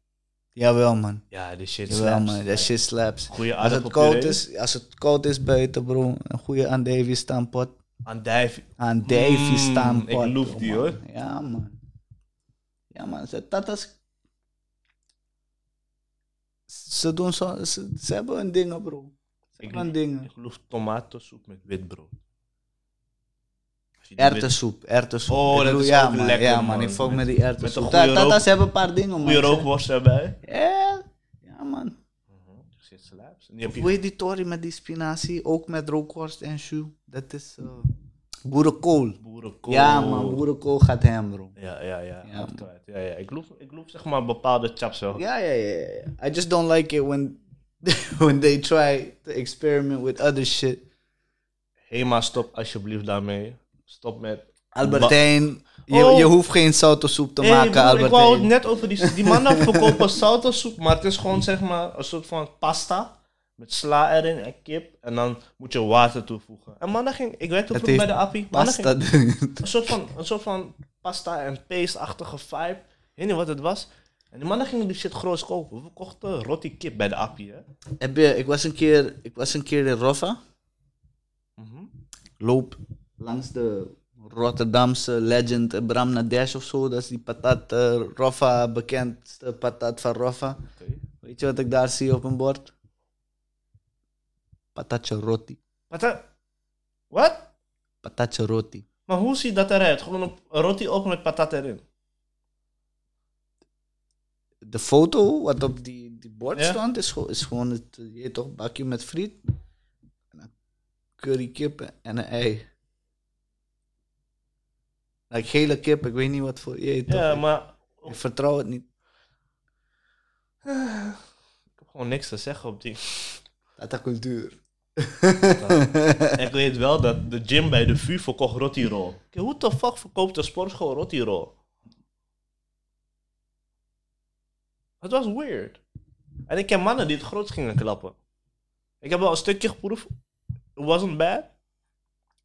Speaker 3: Jawel, man.
Speaker 2: Ja, die shit
Speaker 3: Jawel,
Speaker 2: slaps.
Speaker 3: man. Dat shit slaps.
Speaker 2: Goeie
Speaker 3: Als het, koud is, als het koud is buiten, bro, een goede andijvie stampot.
Speaker 2: Andijvie.
Speaker 3: Andijvie
Speaker 2: Mm,
Speaker 3: stampot.
Speaker 2: ik loef
Speaker 3: bro,
Speaker 2: die,
Speaker 3: Oh, man.
Speaker 2: hoor.
Speaker 3: Ja, man. Ja, man. Ze, dat is... Ze doen zo... Ze, ze hebben hun dingen, bro.
Speaker 2: Ik
Speaker 3: Ze hebben hun dingen.
Speaker 2: Ik loef tomatensoep met wit brood. Als je die wit-
Speaker 3: Erwtensoep, erwtensoep.
Speaker 2: Oh,
Speaker 3: Ik
Speaker 2: dat
Speaker 3: bedoel,
Speaker 2: is
Speaker 3: ja,
Speaker 2: ook
Speaker 3: man,
Speaker 2: lekker,
Speaker 3: Ja, man,
Speaker 2: man.
Speaker 3: ik volg met
Speaker 2: Met-
Speaker 3: die
Speaker 2: met een
Speaker 3: erwtensoep.
Speaker 2: goede
Speaker 3: Ta- Tata's
Speaker 2: rook-
Speaker 3: hebben een paar dingen, man.
Speaker 2: Goeie
Speaker 3: ze-
Speaker 2: rookworst erbij.
Speaker 3: Ja, ja, man.
Speaker 2: Shit slaps. En die heb je-
Speaker 3: Hoe heet die tory met die spinazie? Ook met rookworst en shoe. Dat is eh, boerenkool.
Speaker 2: boerenkool.
Speaker 3: Ja, man, boerenkool gaat hem, bro.
Speaker 2: Ja, ja, ja.
Speaker 3: Ja,
Speaker 2: hard
Speaker 3: man.
Speaker 2: kwijt. ja, ja. Ik, loef, ik loef zeg maar bepaalde chaps wel.
Speaker 3: Ja, ja, ja, ja. ja. I just don't like it when, when they try to experiment with other shit.
Speaker 2: Hema, stop alsjeblieft daarmee. Stop met...
Speaker 3: Albertijn, je,
Speaker 2: Oh.
Speaker 3: je hoeft geen zoutensoep te
Speaker 2: Hey,
Speaker 3: maken,
Speaker 2: broer, ik wou het
Speaker 3: Albertijn.
Speaker 2: net over die... Die mannen verkopen saltosoep, maar het is gewoon zeg maar een soort van pasta. Met sla erin en kip. En dan moet je water toevoegen. En mannen ging... Ik werkte
Speaker 3: Het
Speaker 2: vroeg bij
Speaker 3: heeft
Speaker 2: de appie. Mannen ging
Speaker 3: Pasta doen.
Speaker 2: een soort van, een soort van pasta en paste-achtige vibe. Ik weet niet wat het was. En die mannen gingen die shit groots kopen. We kochten roti kip bij de appie, hè.
Speaker 3: Heb je, ik was een keer, ik was een keer in Roffa.
Speaker 2: Mhm.
Speaker 3: loop langs de Rotterdamse legend Bram Nadesh of zo. Dat is die patat eh, Roffa, bekendste patat van Roffa.
Speaker 2: Oké.
Speaker 3: Weet je wat ik daar zie op een bord? Patatje roti.
Speaker 2: Wat? dan? Wat?
Speaker 3: Patatje roti.
Speaker 2: Maar hoe ziet dat eruit? Gewoon een een roti op met patat erin.
Speaker 3: De foto wat op die, die bord
Speaker 2: Ja.
Speaker 3: stond is, gewoon- is gewoon het eh, je weet toch, bakje met friet. En een curry kip en een ei. Like gele kip, ik weet niet wat voor je eet,
Speaker 2: Ja,
Speaker 3: toch? Ik-
Speaker 2: maar
Speaker 3: ik vertrouw het niet.
Speaker 2: ik heb gewoon niks te zeggen op die.
Speaker 3: Dat is cultuur.
Speaker 2: ik weet wel dat de gym bij de VU verkocht roti roll. Oké, Hoe de fuck verkoopt de sportschool roti roll? Het was weird. En ik ken mannen die het groot gingen klappen. Ik heb wel een stukje geproefd. It wasn't bad.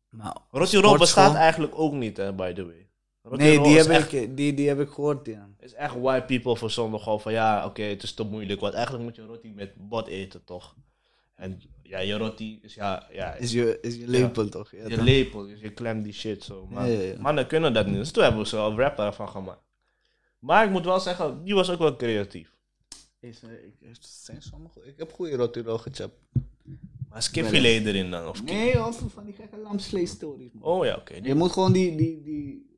Speaker 3: Maar
Speaker 2: Roti roll
Speaker 3: sportschool?
Speaker 2: bestaat eigenlijk ook niet, hè, by the way. Roti
Speaker 3: nee,
Speaker 2: roll
Speaker 3: die
Speaker 2: is
Speaker 3: heb,
Speaker 2: echt-
Speaker 3: ik, die, die heb ik gehoord, ja.
Speaker 2: is echt white people voor sommigen gewoon van ja, oké, het is te moeilijk. Want eigenlijk moet je roti met bot eten, toch? En ja, je roti is ja, ja
Speaker 3: Is je, is je lepel toch? Ja,
Speaker 2: je
Speaker 3: toch?
Speaker 2: lepel, dus je klemt die shit zo. Maar
Speaker 3: Ja, ja, ja.
Speaker 2: mannen kunnen dat niet, dus toen hebben we zo een rapper van gemaakt. Maar ik moet wel zeggen, die was ook wel creatief.
Speaker 3: Is, eh, ik, er zijn sommige, ik heb goede rotirol gechapt.
Speaker 2: Maar skipfilet erin dan, of kip.
Speaker 3: Nee, of van die gekke lamsvlees-stories. man.
Speaker 2: Oh ja, oké. die-
Speaker 3: Je moet gewoon die, die, die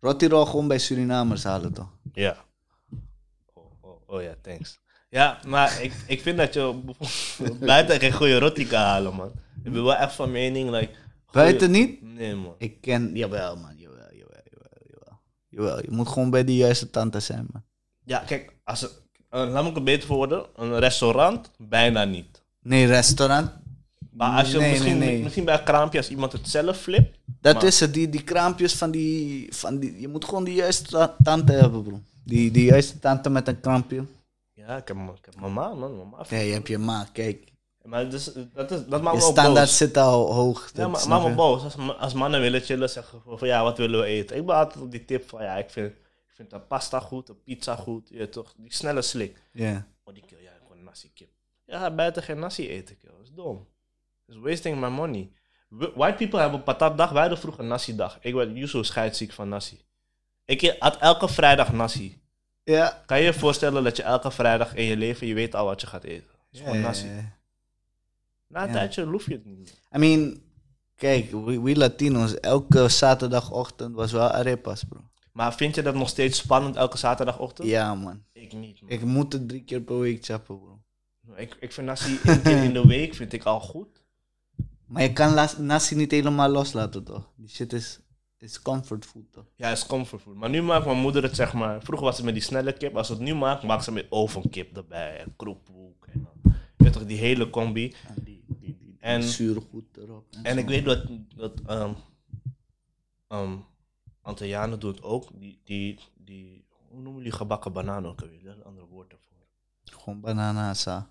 Speaker 3: rotirol gewoon bij Surinamers halen, toch?
Speaker 2: Ja. Oh, oh, oh ja, thanks. Ja, maar ik, ik vind dat je buiten geen goede roti kan halen, man. Ik ben wel echt van mening, like... goeie-
Speaker 3: Buiten niet?
Speaker 2: Nee, man.
Speaker 3: Ik ken, jawel man, jawel, jawel, jawel, jawel. Jawel, je moet gewoon bij de juiste tante zijn, man.
Speaker 2: Ja, kijk, als het, eh, laat me het beter worden. Een restaurant, bijna niet.
Speaker 3: Nee, restaurant.
Speaker 2: Maar als je
Speaker 3: Nee, nee,
Speaker 2: misschien,
Speaker 3: nee.
Speaker 2: misschien bij een kraampje, als iemand het zelf flipt.
Speaker 3: Dat
Speaker 2: Maar-
Speaker 3: is het, die, die kraampjes van die, van die... Je moet gewoon de juiste ta- tante hebben, bro. Die, die juiste tante met een kraampje.
Speaker 2: Ja, ik heb, m- ik heb mama, man. Mama.
Speaker 3: Nee, je hebt je ma, kijk.
Speaker 2: Maar dus, eh, dat, is, dat maakt
Speaker 3: Je
Speaker 2: me ook
Speaker 3: standaard
Speaker 2: boos.
Speaker 3: zit al hoog.
Speaker 2: Ja,
Speaker 3: dat
Speaker 2: maar
Speaker 3: snap
Speaker 2: maakt me
Speaker 3: je.
Speaker 2: boos. Als, ma- als mannen willen chillen, zeggen we van ja, wat willen we eten? Ik ben altijd op die tip van ja, ik vind, ik vind de pasta goed, de pizza goed, je weet toch, die snelle slik.
Speaker 3: Ja.
Speaker 2: Oh, die keer, ja, gewoon nasi kip. Ja, buiten geen nasi eten, kill. Dat is dom. Dat is wasting my money. Wh- White people hebben patatdag, wij hadden vroeger nasi dag. Ik werd Yusu scheidsziek van nasi. Ik had elke vrijdag nasi.
Speaker 3: Ja.
Speaker 2: Kan je je voorstellen dat je elke vrijdag in je leven, je weet al wat je gaat eten. Het is gewoon nasi.
Speaker 3: Ja, ja, ja.
Speaker 2: Na een
Speaker 3: Ja.
Speaker 2: tijdje hoef je het niet meer.
Speaker 3: I mean, kijk, we, we Latinos, elke zaterdagochtend was wel arepas, bro.
Speaker 2: Maar vind je dat nog steeds spannend elke zaterdagochtend?
Speaker 3: Ja, man.
Speaker 2: Ik niet. man.
Speaker 3: Ik moet het drie keer per week chappen, bro.
Speaker 2: Ik, ik vind nasi één keer in de week vind ik al goed.
Speaker 3: Maar je kan las- nasi niet helemaal loslaten, toch? Die shit is, is comfort food, toch?
Speaker 2: Ja, is comfort food. Maar nu maakt mijn moeder het zeg maar. Vroeger was het met die snelle kip. Als ze het nu maakt, maakt ze met ovenkip erbij. En kroephoek. En dan. Je weet toch, die hele combi.
Speaker 3: En die, die, die,
Speaker 2: En-
Speaker 3: die zuurgoed erop.
Speaker 2: En ik
Speaker 3: zo.
Speaker 2: weet dat. dat ehm ehm Antillianen doen het ook. Die, die, die, hoe noemen die gebakken bananen ook alweer? Daar is een andere woord daarvoor.
Speaker 3: Gewoon bananasa.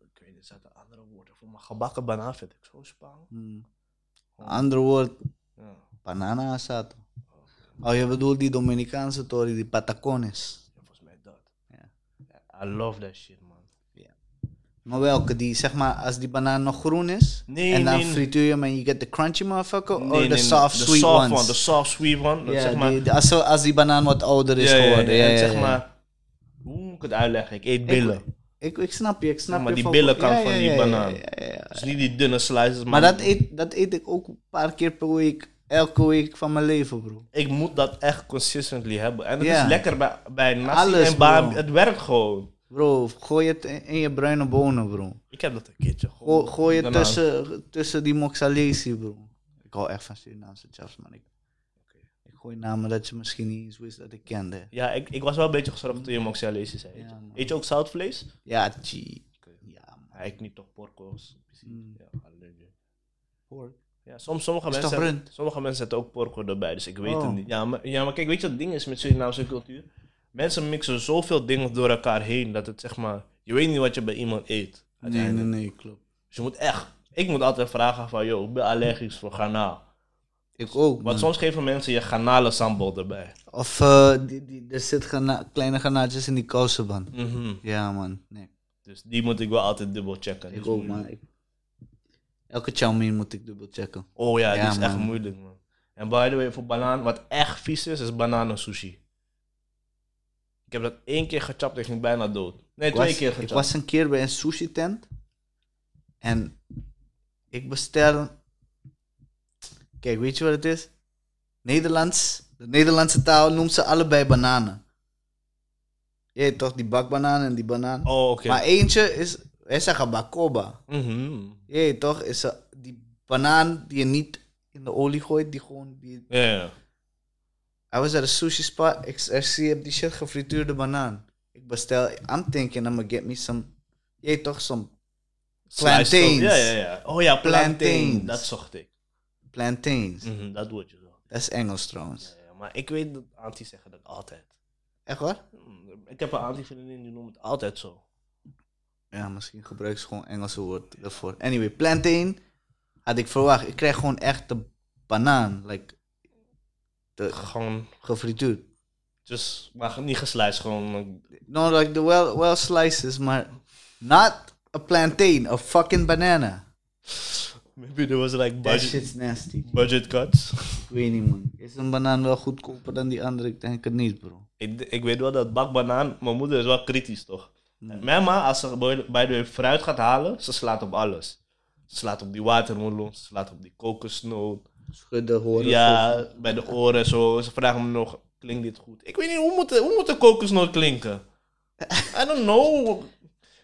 Speaker 2: Ik weet niet, er zaten andere woorden voor. Maar gebakken banaan vind ik zo spannend.
Speaker 3: Hmm.
Speaker 2: Oh.
Speaker 3: Ander woord,
Speaker 2: Ja.
Speaker 3: bananasa, toch? Oh, je bedoelt die Dominicaanse toren, die patacones.
Speaker 2: Ja, volgens mij dat.
Speaker 3: Ja.
Speaker 2: I love that shit, man.
Speaker 3: Maar welke? Die, zeg maar, als die banaan nog groen is.
Speaker 2: Nee,
Speaker 3: en dan
Speaker 2: nee, nee.
Speaker 3: frituur je hem en je get the crunchy motherfucker.
Speaker 2: Nee,
Speaker 3: or
Speaker 2: nee,
Speaker 3: Oh, the
Speaker 2: nee,
Speaker 3: soft
Speaker 2: de
Speaker 3: sweet
Speaker 2: soft
Speaker 3: ones.
Speaker 2: One, de soft sweet one. dat
Speaker 3: ja,
Speaker 2: zeg maar,
Speaker 3: die- die- als, zo- als die banaan wat ouder is
Speaker 2: ja, ja, ja,
Speaker 3: geworden. Ja,
Speaker 2: en
Speaker 3: ja,
Speaker 2: zeg
Speaker 3: ja.
Speaker 2: maar, hoe moet ik het uitleggen? Ik eet billen.
Speaker 3: Ik, ik snap je, ik snap
Speaker 2: Zeg maar,
Speaker 3: je.
Speaker 2: die
Speaker 3: van-
Speaker 2: billenkant
Speaker 3: Ja,
Speaker 2: van
Speaker 3: ja,
Speaker 2: die
Speaker 3: ja, ja,
Speaker 2: banaan.
Speaker 3: ja, ja, ja.
Speaker 2: dus niet die dunne slices, maar,
Speaker 3: Maar dat eet, dat eet ik ook een paar keer per week. Elke week van mijn leven, bro.
Speaker 2: ik moet dat echt consistently hebben. En het
Speaker 3: Ja.
Speaker 2: is lekker bij, bij nasi
Speaker 3: Alles,
Speaker 2: en bami.
Speaker 3: bro.
Speaker 2: Het werkt gewoon.
Speaker 3: Bro, gooi het in, in je bruine bonen, bro.
Speaker 2: Ik heb dat een keertje.
Speaker 3: Go- gooi het
Speaker 2: Daarna-
Speaker 3: tussen, tussen die moxalesi, bro. Ik hou echt van Surinaamse chaps, man. Ik, ik gooi namen dat je misschien niet eens wist dat ik kende.
Speaker 2: Ja, ik, ik was wel een beetje geschrokken toen je moxellese zei.
Speaker 3: Ja, man.
Speaker 2: eet je ook zoutvlees?
Speaker 3: Ja, gee. Ja, man.
Speaker 2: Ja, ik niet toch porco's. precies.
Speaker 3: Mm.
Speaker 2: Ja, alleen- Ja, soms, sommige,
Speaker 3: Is
Speaker 2: mensen
Speaker 3: toch
Speaker 2: hebben,
Speaker 3: rund?
Speaker 2: sommige mensen zetten ook porco erbij, dus ik weet
Speaker 3: Oh.
Speaker 2: het niet. Ja maar, ja, maar kijk, weet je wat het ding is met Surinaamse cultuur? Mensen mixen zoveel dingen door elkaar heen dat het zeg maar, je weet niet wat je bij iemand eet.
Speaker 3: Nee, nee,
Speaker 2: uiteindelijk.
Speaker 3: nee, klopt.
Speaker 2: Dus je moet echt, ik moet altijd vragen van, joh, ik ben allergisch voor garnaal.
Speaker 3: Ik ook,
Speaker 2: Want
Speaker 3: man.
Speaker 2: soms geven mensen je garnalen sambal erbij.
Speaker 3: Of eh, die, die, er zitten gana- kleine granaatjes in die kousenband.
Speaker 2: Mhm.
Speaker 3: Ja, man. Nee,
Speaker 2: Dus die moet ik wel altijd dubbel checken. Dus
Speaker 3: ik ook, man. Ik- Elke chow mein moet ik dubbel checken.
Speaker 2: Oh ja,
Speaker 3: Ja,
Speaker 2: die is echt
Speaker 3: man.
Speaker 2: moeilijk, man. En by the way, voor banaan, wat echt vies is, is bananen sushi. Ik heb dat één keer gechapt en ging bijna dood. Nee, twee
Speaker 3: was-
Speaker 2: keer
Speaker 3: Ik
Speaker 2: gechapt.
Speaker 3: was een keer bij een sushi tent. En ik bestel. Kijk, weet je wat het is? Nederlands. De Nederlandse taal noemt ze allebei bananen. Je weet toch, die bakbanaan en die banaan.
Speaker 2: Oh, oké.
Speaker 3: Maar eentje is. Hij zegt abacoba.
Speaker 2: Mhm.
Speaker 3: Je weet toch, is ze- die banaan die je niet in de olie gooit, die gewoon. Die...
Speaker 2: Ja, ja.
Speaker 3: Hij was at een sushi spot. Ik, ik zie op die shit gefrituurde banaan. Ik bestel. I'm thinking I'm gonna get me some. Je weet toch, some Plantains.
Speaker 2: Sliced op- Ja, ja, ja. Oh ja, plantain.
Speaker 3: Plantains.
Speaker 2: Dat zocht ik.
Speaker 3: plantains.
Speaker 2: Mhm, dat word je zo.
Speaker 3: Dat is Engels trouwens.
Speaker 2: Ja, ja. Maar ik weet dat aunties zeggen dat altijd.
Speaker 3: Echt waar?
Speaker 2: Mhm, Ik heb een auntie vriendin die noemt het altijd zo.
Speaker 3: Ja, misschien gebruik ze gewoon Engelse woord daarvoor. Anyway, plantain had ik verwacht. Ik kreeg gewoon echt de banaan. Like, de,
Speaker 2: Gewoon,
Speaker 3: gefrituurd.
Speaker 2: dus, maar niet geslijst, gewoon.
Speaker 3: No, like the well, well slices, maar not a plantain, a fucking banana.
Speaker 2: Maybe there was like
Speaker 3: That
Speaker 2: budget,
Speaker 3: shit's nasty.
Speaker 2: budget cuts.
Speaker 3: Ik weet niet, man. Is een banaan wel goedkoper dan die andere? Ik denk het niet, bro.
Speaker 2: Ik, ik weet wel dat bakbanaan, mijn moeder is wel kritisch toch? En Mijn ma, als ze bij de- bij de fruit gaat halen, ze slaat op alles. Ze slaat op die watermeloen, ze slaat op die kokosnoot.
Speaker 3: Schudden horen.
Speaker 2: Ja, bij de oren zo. Ze vragen me nog, klinkt dit goed? Ik weet niet, hoe moet, de- hoe moet de kokosnoot klinken? I don't know.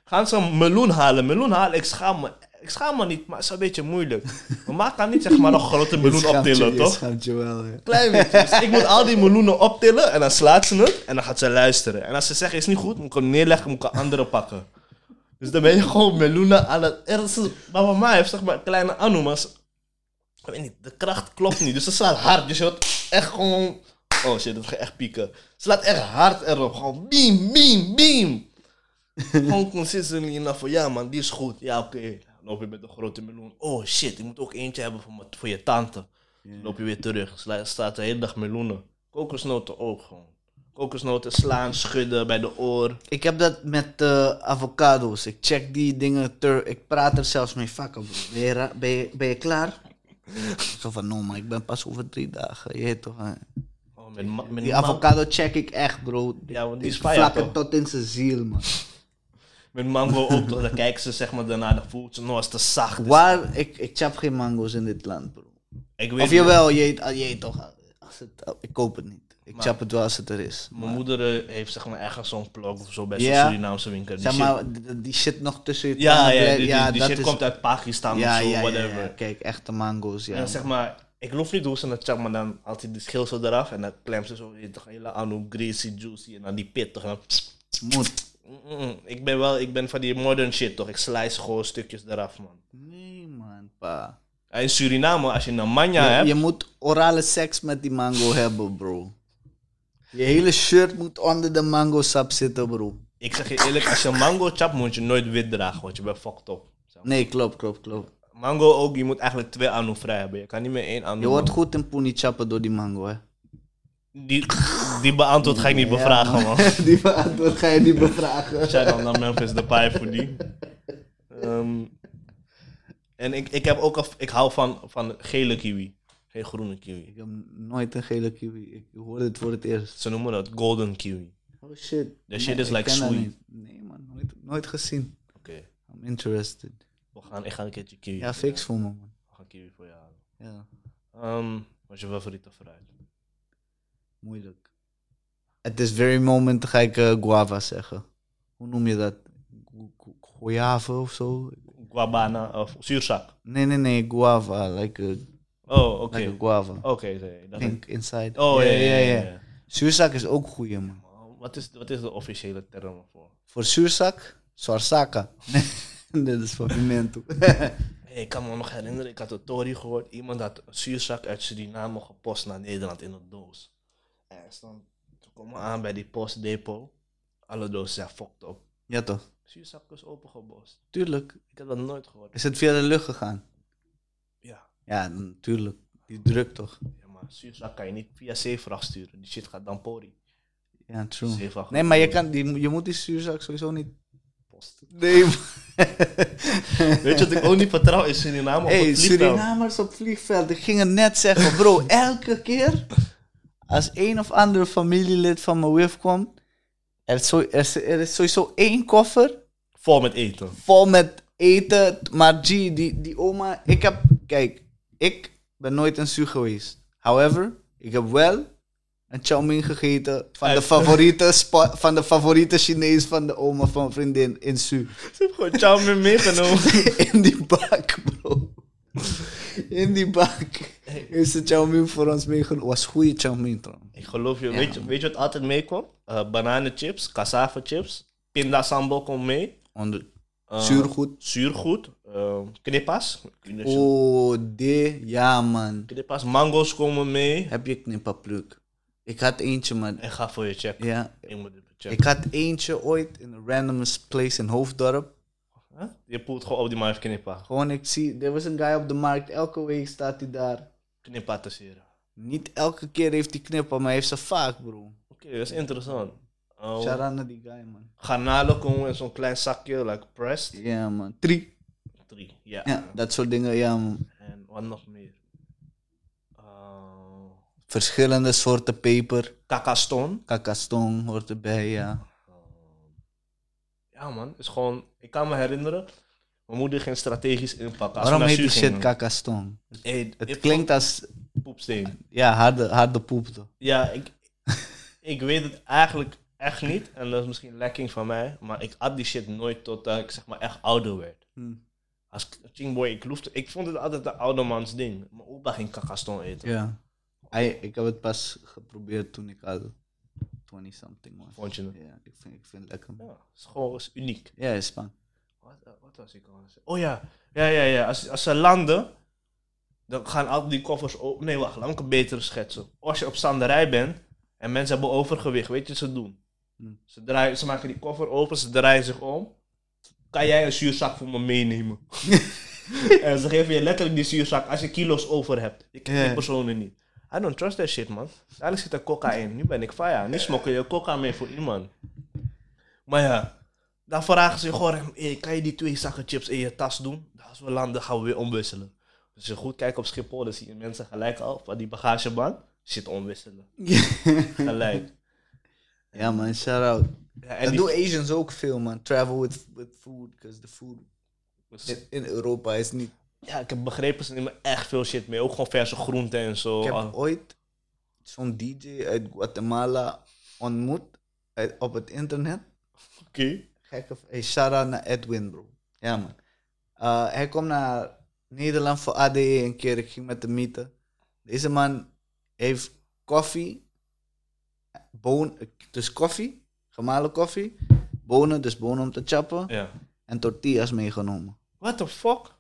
Speaker 2: Gaan ze een meloen halen? Meloen halen, ik schaam me. Ik schaam me niet, maar het is een beetje moeilijk. Mijn ma kan niet zeg maar nog grote meloen optillen, toch?
Speaker 3: Schaamt je wel, hè.
Speaker 2: Klein beetje. Dus ik moet al die meloenen optillen en dan slaat ze het en dan gaat ze luisteren. En als ze zeggen is niet goed, moet ik hem neerleggen, moet ik een andere pakken. Dus dan ben je gewoon meloenen aan het... er is- Maar mama heeft zeg maar een kleine anomas. Ik weet niet, de kracht klopt niet. Dus ze slaat hard. Dus je hoort echt gewoon... Oh shit, dat gaat echt pieken. Ze slaat echt hard erop. Gewoon beam, beam, beam. Gewoon consistently enough van, ja man, die is goed. Ja, oké. Dan loop je met een grote meloen. Oh shit, ik moet ook eentje hebben voor, mijn- voor je tante. Dan loop je weer terug. Sla- Staat de hele dag meloenen. Kokosnoten ook gewoon. Kokosnoten slaan, schudden bij de oor.
Speaker 3: Ik heb dat met eh, avocado's. Ik check die dingen ter. Ik praat er zelfs mee. Fuck, bro. Ben je, ra- ben je, ben je klaar? Zo van, no man, ik ben pas over drie dagen. Je weet toch, hè?
Speaker 2: Oh, met ma- met
Speaker 3: Die
Speaker 2: ma-
Speaker 3: avocado check ik echt, bro.
Speaker 2: Ja, want die is
Speaker 3: Ik
Speaker 2: fire,
Speaker 3: vlak
Speaker 2: toch?
Speaker 3: het tot in zijn ziel, man.
Speaker 2: Met mango ook, toch? Dan kijken ze zeg maar daarna, dan voelt ze, nou is te zacht. Dus-
Speaker 3: Waar, ik, ik chap geen mango's in dit land, bro.
Speaker 2: ik weet
Speaker 3: Of
Speaker 2: niet.
Speaker 3: jawel, je eet, ah, je eet toch. Als het, oh, ik koop het niet. Ik chap het wel als het er is.
Speaker 2: Mijn moeder eh, heeft zeg maar ergens zo'n plok of zo bij
Speaker 3: Ja.
Speaker 2: zo'n Surinaamse winkel. Die
Speaker 3: Zeg
Speaker 2: shit-
Speaker 3: maar, d- d- die shit nog tussen je
Speaker 2: ja,
Speaker 3: tanden
Speaker 2: ja,
Speaker 3: blijft-
Speaker 2: die, die- die
Speaker 3: dat
Speaker 2: shit
Speaker 3: is-
Speaker 2: komt uit Pakistan
Speaker 3: ja,
Speaker 2: of zo,
Speaker 3: ja, ja,
Speaker 2: whatever.
Speaker 3: ja. Kijk, echte mango's, ja.
Speaker 2: En dan zeg maar, ik loef niet hoe ze het zeg maar, dan haalt hij de schil zo eraf en dan klemt ze zo je weet toch, hele anu, greasy, juicy en dan die pit toch. En dan,
Speaker 3: Moet.
Speaker 2: Mm, mm. ik ben wel, ik ben van die modern shit toch, ik slice gewoon stukjes eraf man.
Speaker 3: Nee, man, pa.
Speaker 2: En In Suriname, als je een manja
Speaker 3: je,
Speaker 2: hebt,
Speaker 3: je moet orale seks met die mango hebben, bro. Je hele shirt moet onder de mango sap zitten, bro.
Speaker 2: ik zeg je eerlijk, als je mango chapt moet je nooit wit dragen, want je bent fucked up. Zeg maar.
Speaker 3: Nee, klopt, klopt, klopt.
Speaker 2: Mango ook, je moet eigenlijk twee anu vrij hebben, je kan niet meer één anu.
Speaker 3: Je wordt goed in poenie chappen door die mango, hè.
Speaker 2: Die, die beantwoord ga ik niet bevragen man.
Speaker 3: die beantwoord ga je niet bevragen.
Speaker 2: Shout out naar Memphis Depay voor die. Ehm, en ik, ik heb ook af, ik hou van, van gele kiwi, geen groene kiwi.
Speaker 3: Ik heb nooit een gele kiwi. Ik hoor dit voor het eerst.
Speaker 2: Ze noemen dat golden kiwi.
Speaker 3: Oh shit.
Speaker 2: That shit
Speaker 3: Nee,
Speaker 2: is
Speaker 3: ik
Speaker 2: like
Speaker 3: ken dat
Speaker 2: sweet.
Speaker 3: niet. Nee man, nooit, nooit gezien.
Speaker 2: Oké,
Speaker 3: I'm interested.
Speaker 2: we gaan, ik ga een keertje kiwi.
Speaker 3: Ja,
Speaker 2: voor je
Speaker 3: fix voor me man.
Speaker 2: halen. Ik ga kiwi voor je halen.
Speaker 3: Ja,
Speaker 2: Ehm, wat is je favoriete fruit?
Speaker 3: moeilijk. At this very moment ga ik eh, guava zeggen. Hoe noem je dat? Gu- gu- Guava of zo?
Speaker 2: Guabana of zuurzak.
Speaker 3: Nee, nee, nee, guava. Like a,
Speaker 2: Oh, oké.
Speaker 3: like a guava.
Speaker 2: Oké, nee, dat-
Speaker 3: Pink inside.
Speaker 2: Oh, ja, ja, ja. ja.
Speaker 3: Zuurzak is ook goeie man.
Speaker 2: Maar Wat is, wat is de officiële term voor?
Speaker 3: Voor zuurzak, sarsaka. Dit is fucking mental.
Speaker 2: Hey, ik kan me nog herinneren, ik had een tori gehoord. Iemand had een zuurzak uit Suriname gepost naar Nederland in een doos. En hij stond, toen komen we aan bij die postdepot. Alle dozen zijn fucked up.
Speaker 3: ja toch?
Speaker 2: Zuurzak is opengebost.
Speaker 3: Tuurlijk.
Speaker 2: Ik heb dat nooit gehoord.
Speaker 3: Is het via de lucht gegaan?
Speaker 2: Ja,
Speaker 3: Ja, natuurlijk. Die druk toch?
Speaker 2: ja maar zuurzak kan je niet via zeevracht sturen. Die shit gaat dan pori.
Speaker 3: Ja, true.
Speaker 2: Zeevracht
Speaker 3: Nee, maar je, kan, die, je moet die zuurzak sowieso niet.
Speaker 2: post.
Speaker 3: Nee,
Speaker 2: Weet je wat ik ook niet vertrouw in Suriname? Op
Speaker 3: hey,
Speaker 2: het vliegveld.
Speaker 3: Surinamers op vliegveld. Ik ging het net zeggen, bro. elke keer als een of ander familielid van mijn WIF komt, er is, zo, er, is, er is sowieso één koffer
Speaker 2: Vol met eten.
Speaker 3: vol met eten. Maar G, die, die oma. Ik heb, kijk, ik ben nooit een Su geweest. However, ik heb wel een chow mein gegeten van de
Speaker 2: Uit-
Speaker 3: favoriete, spa- van de favoriete Chinees van de oma van een vriendin in Su.
Speaker 2: Ze hebben gewoon chow mein meegenomen.
Speaker 3: In die bak, bro. In die bak. Is de chow mein voor ons meegenomen. Was goede chow mein trouwens.
Speaker 2: Ik geloof je. Weet, je weet je wat altijd meekwam? Eh bananenchips, cassavechips, pindasambal komt mee.
Speaker 3: Onder
Speaker 2: Eh,
Speaker 3: zuurgoed.
Speaker 2: Zuurgoed. eh, knippas. Knippas.
Speaker 3: Oh, de, ja man.
Speaker 2: Knippas. Mango's komen mee.
Speaker 3: Heb je knipperpluk? Ik had eentje, man.
Speaker 2: En ga voor je check.
Speaker 3: Ja.
Speaker 2: Ik moet even checken.
Speaker 3: Ik had eentje ooit in een random place in Hoofddorp.
Speaker 2: Huh? Je poelt gewoon op die markt knippa.
Speaker 3: Gewoon, ik zie, er was een guy op de markt. Elke week staat hij daar.
Speaker 2: Knippa tesseren.
Speaker 3: Niet elke keer heeft hij knippen, maar hij heeft ze vaak, bro.
Speaker 2: Oké, dat is interessant. Eh,
Speaker 3: Shout out naar die guy, man.
Speaker 2: garnalen komen in zo'n klein zakje, like pressed.
Speaker 3: Ja, man. Drie.
Speaker 2: Drie, ja.
Speaker 3: Ja, dat soort dingen, ja, man.
Speaker 2: En wat nog meer? Eh
Speaker 3: verschillende soorten peper.
Speaker 2: kakaston.
Speaker 3: Kakastong hoort erbij, ja.
Speaker 2: Ja man, is gewoon, ik kan me herinneren, mijn moeder ging strategisch inpakken. Als we
Speaker 3: Waarom
Speaker 2: naar
Speaker 3: heet die
Speaker 2: Suur
Speaker 3: shit
Speaker 2: gingen.
Speaker 3: kakastong?
Speaker 2: Hey,
Speaker 3: Het
Speaker 2: ik
Speaker 3: klinkt als
Speaker 2: vond poepsteen.
Speaker 3: ja, harde, harde poep. toch?
Speaker 2: Ja, ik, ik weet het eigenlijk echt niet. En dat is misschien lekking van mij. Maar ik at die shit nooit totdat ik zeg maar echt ouder werd.
Speaker 3: Hmm.
Speaker 2: Als chingboy, ik loefde. Ik vond het altijd een oudermans ding. Mijn opa ging kakaston eten.
Speaker 3: Ja. Ai, ik heb het pas geprobeerd toen ik al 20 something was.
Speaker 2: Vond je het?
Speaker 3: Ja, ik vind, ik vind het lekker. man.
Speaker 2: Ja, is gewoon is uniek.
Speaker 3: Ja, is span.
Speaker 2: Wat, eh, wat was ik al aan het zeggen? Oh ja, ja, ja, ja. Als, als ze landen, dan gaan altijd die koffers open. Nee, wacht, laat me een betere schetsen. Als je op standerij bent en mensen hebben overgewicht, weet je wat ze doen?
Speaker 3: Hm.
Speaker 2: Ze, draaien, ze maken die koffer open, ze draaien zich om. Kan jij een zuurzak voor me meenemen? en ze geven je letterlijk die zuurzak als je kilo's over hebt. Je kent
Speaker 3: Ja.
Speaker 2: die personen niet. I don't trust that shit, man. Eigenlijk zit er coca in. Nu ben ik fire. Nu smokkel je coca mee voor iemand. Maar ja, dan vragen ze je gewoon, hey, kan je die twee zakken chips in je tas doen? Als we landen gaan we weer omwisselen. Dus als je goed kijkt op Schiphol, dan zie je mensen gelijk al van die bagagebank. Shit omwisselen. Gelijk.
Speaker 3: Ja, man, shout out.
Speaker 2: Ja, en
Speaker 3: Dat
Speaker 2: die-
Speaker 3: doen Asians ook veel, man. Travel with, with food, because the food in, in Europa is niet.
Speaker 2: Ja, ik heb begrepen, ze nemen echt veel shit mee. Ook gewoon verse groenten en zo.
Speaker 3: Ik heb
Speaker 2: Ah,
Speaker 3: ooit zo'n DJ uit Guatemala ontmoet uit- op het internet.
Speaker 2: Oké.
Speaker 3: gekke. Hey, shout-out naar Edwin, bro. Ja, man. Eh, hij komt naar Nederland voor ADE een keer. Ik ging met hem meeten. Deze man heeft koffie, boon, dus koffie, gemalen koffie, bonen, dus bonen om te chappen,
Speaker 2: Ja.
Speaker 3: en tortillas meegenomen.
Speaker 2: What the fuck?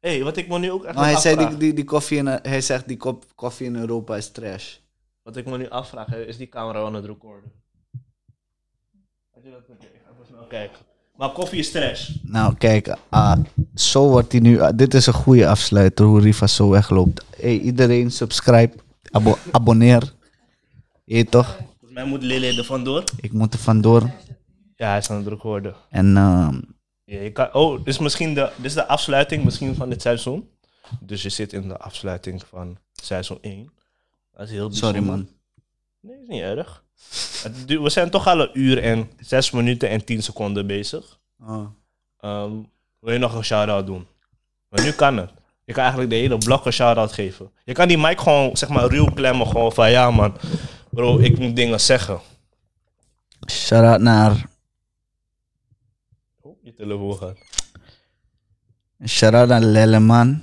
Speaker 2: Hé, hey, wat ik me nu ook echt
Speaker 3: Maar Nou, hij
Speaker 2: nog
Speaker 3: zei,
Speaker 2: afvraag.
Speaker 3: die, die, die koffie in, hij zegt, die kop, koffie in Europa is trash.
Speaker 2: Wat ik me nu afvraag, hè, is die camera wel aan het recorden? Had je dat? Oké, ik ga even snel kijken. Maar koffie is trash.
Speaker 3: Nou, kijk, ah, zo wordt hij nu. ah, dit is een goede afsluiter hoe Riva zo wegloopt. Hey, iedereen, subscribe, abo- abonneer. Je weet toch?
Speaker 2: Volgens mij moet Lele er vandoor.
Speaker 3: Ik moet er vandoor.
Speaker 2: Ja, hij is aan het recorden.
Speaker 3: En ehm,
Speaker 2: Ja, je kan, oh, dit is misschien de, dit is de afsluiting misschien van dit seizoen. Dus je zit in de afsluiting van seizoen 1. Dat is heel
Speaker 3: sorry,
Speaker 2: bijzonder.
Speaker 3: man.
Speaker 2: Nee, is niet erg. Het du- We zijn toch al een uur en 6 minuten en 10 seconden bezig.
Speaker 3: Oh,
Speaker 2: Ehm, wil je nog een shout-out doen? Maar nu kan het. Je kan eigenlijk de hele blok een shout-out geven. Je kan die mic gewoon, zeg maar, ruw klemmen. Gewoon van, ja man, bro, ik moet dingen zeggen.
Speaker 3: Shout-out naar,
Speaker 2: Oh, je telefoon gaat.
Speaker 3: shout-out naar Lelleman.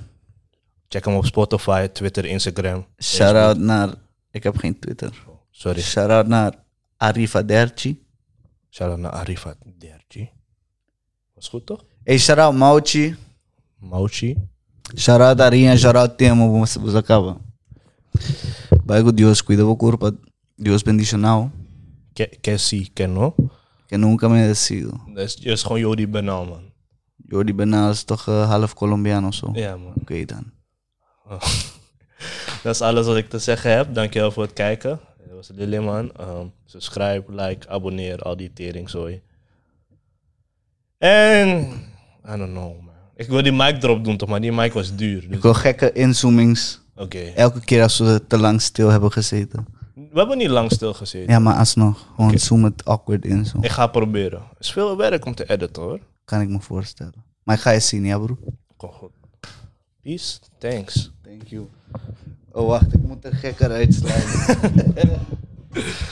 Speaker 2: Check hem op Spotify, Twitter, Instagram.
Speaker 3: Shout-out naar, ik heb geen Twitter.
Speaker 2: Sorry,
Speaker 3: Shout-out naar Arifa Derci.
Speaker 2: shout-out naar Arifat Derji. Was goed toch?
Speaker 3: Hey, shout-out Mauchi.
Speaker 2: Mauchi.
Speaker 3: Shout-out a Rian, shout-out Temo, você, você acaba. Vai com Deus, cuida do corpo. Deus bendice now.
Speaker 2: Ke- Kessie Kenno.
Speaker 3: que nunca me decido.
Speaker 2: Dat is, dat is gewoon Jody Benal, man.
Speaker 3: Jordi Bernal is toch eh, half Colombiaan of zo?
Speaker 2: Ja, man.
Speaker 3: Oké dan.
Speaker 2: Dat is alles wat ik te zeggen heb. Dankjewel voor het kijken. Dat was Lily man. Ehm, subscribe, like, abonneer, al die teringzooi. En, I don't know man. Ik wil die mic drop doen toch, maar die mic was duur. Dus,
Speaker 3: Ik
Speaker 2: Oké.
Speaker 3: wil gekke inzoomings. Elke keer als we te lang stil hebben gezeten.
Speaker 2: We hebben niet lang stilgezeten.
Speaker 3: Ja, maar alsnog. Gewoon zoom het awkward in zo.
Speaker 2: Ik ga proberen. Het is veel werk om te editen hoor.
Speaker 3: Kan ik me voorstellen. Maar ik ga je zien, ja bro?
Speaker 2: Kom goed. Peace. Thanks.
Speaker 3: Thank you. Oh wacht, ik moet er gekker uitsluiten.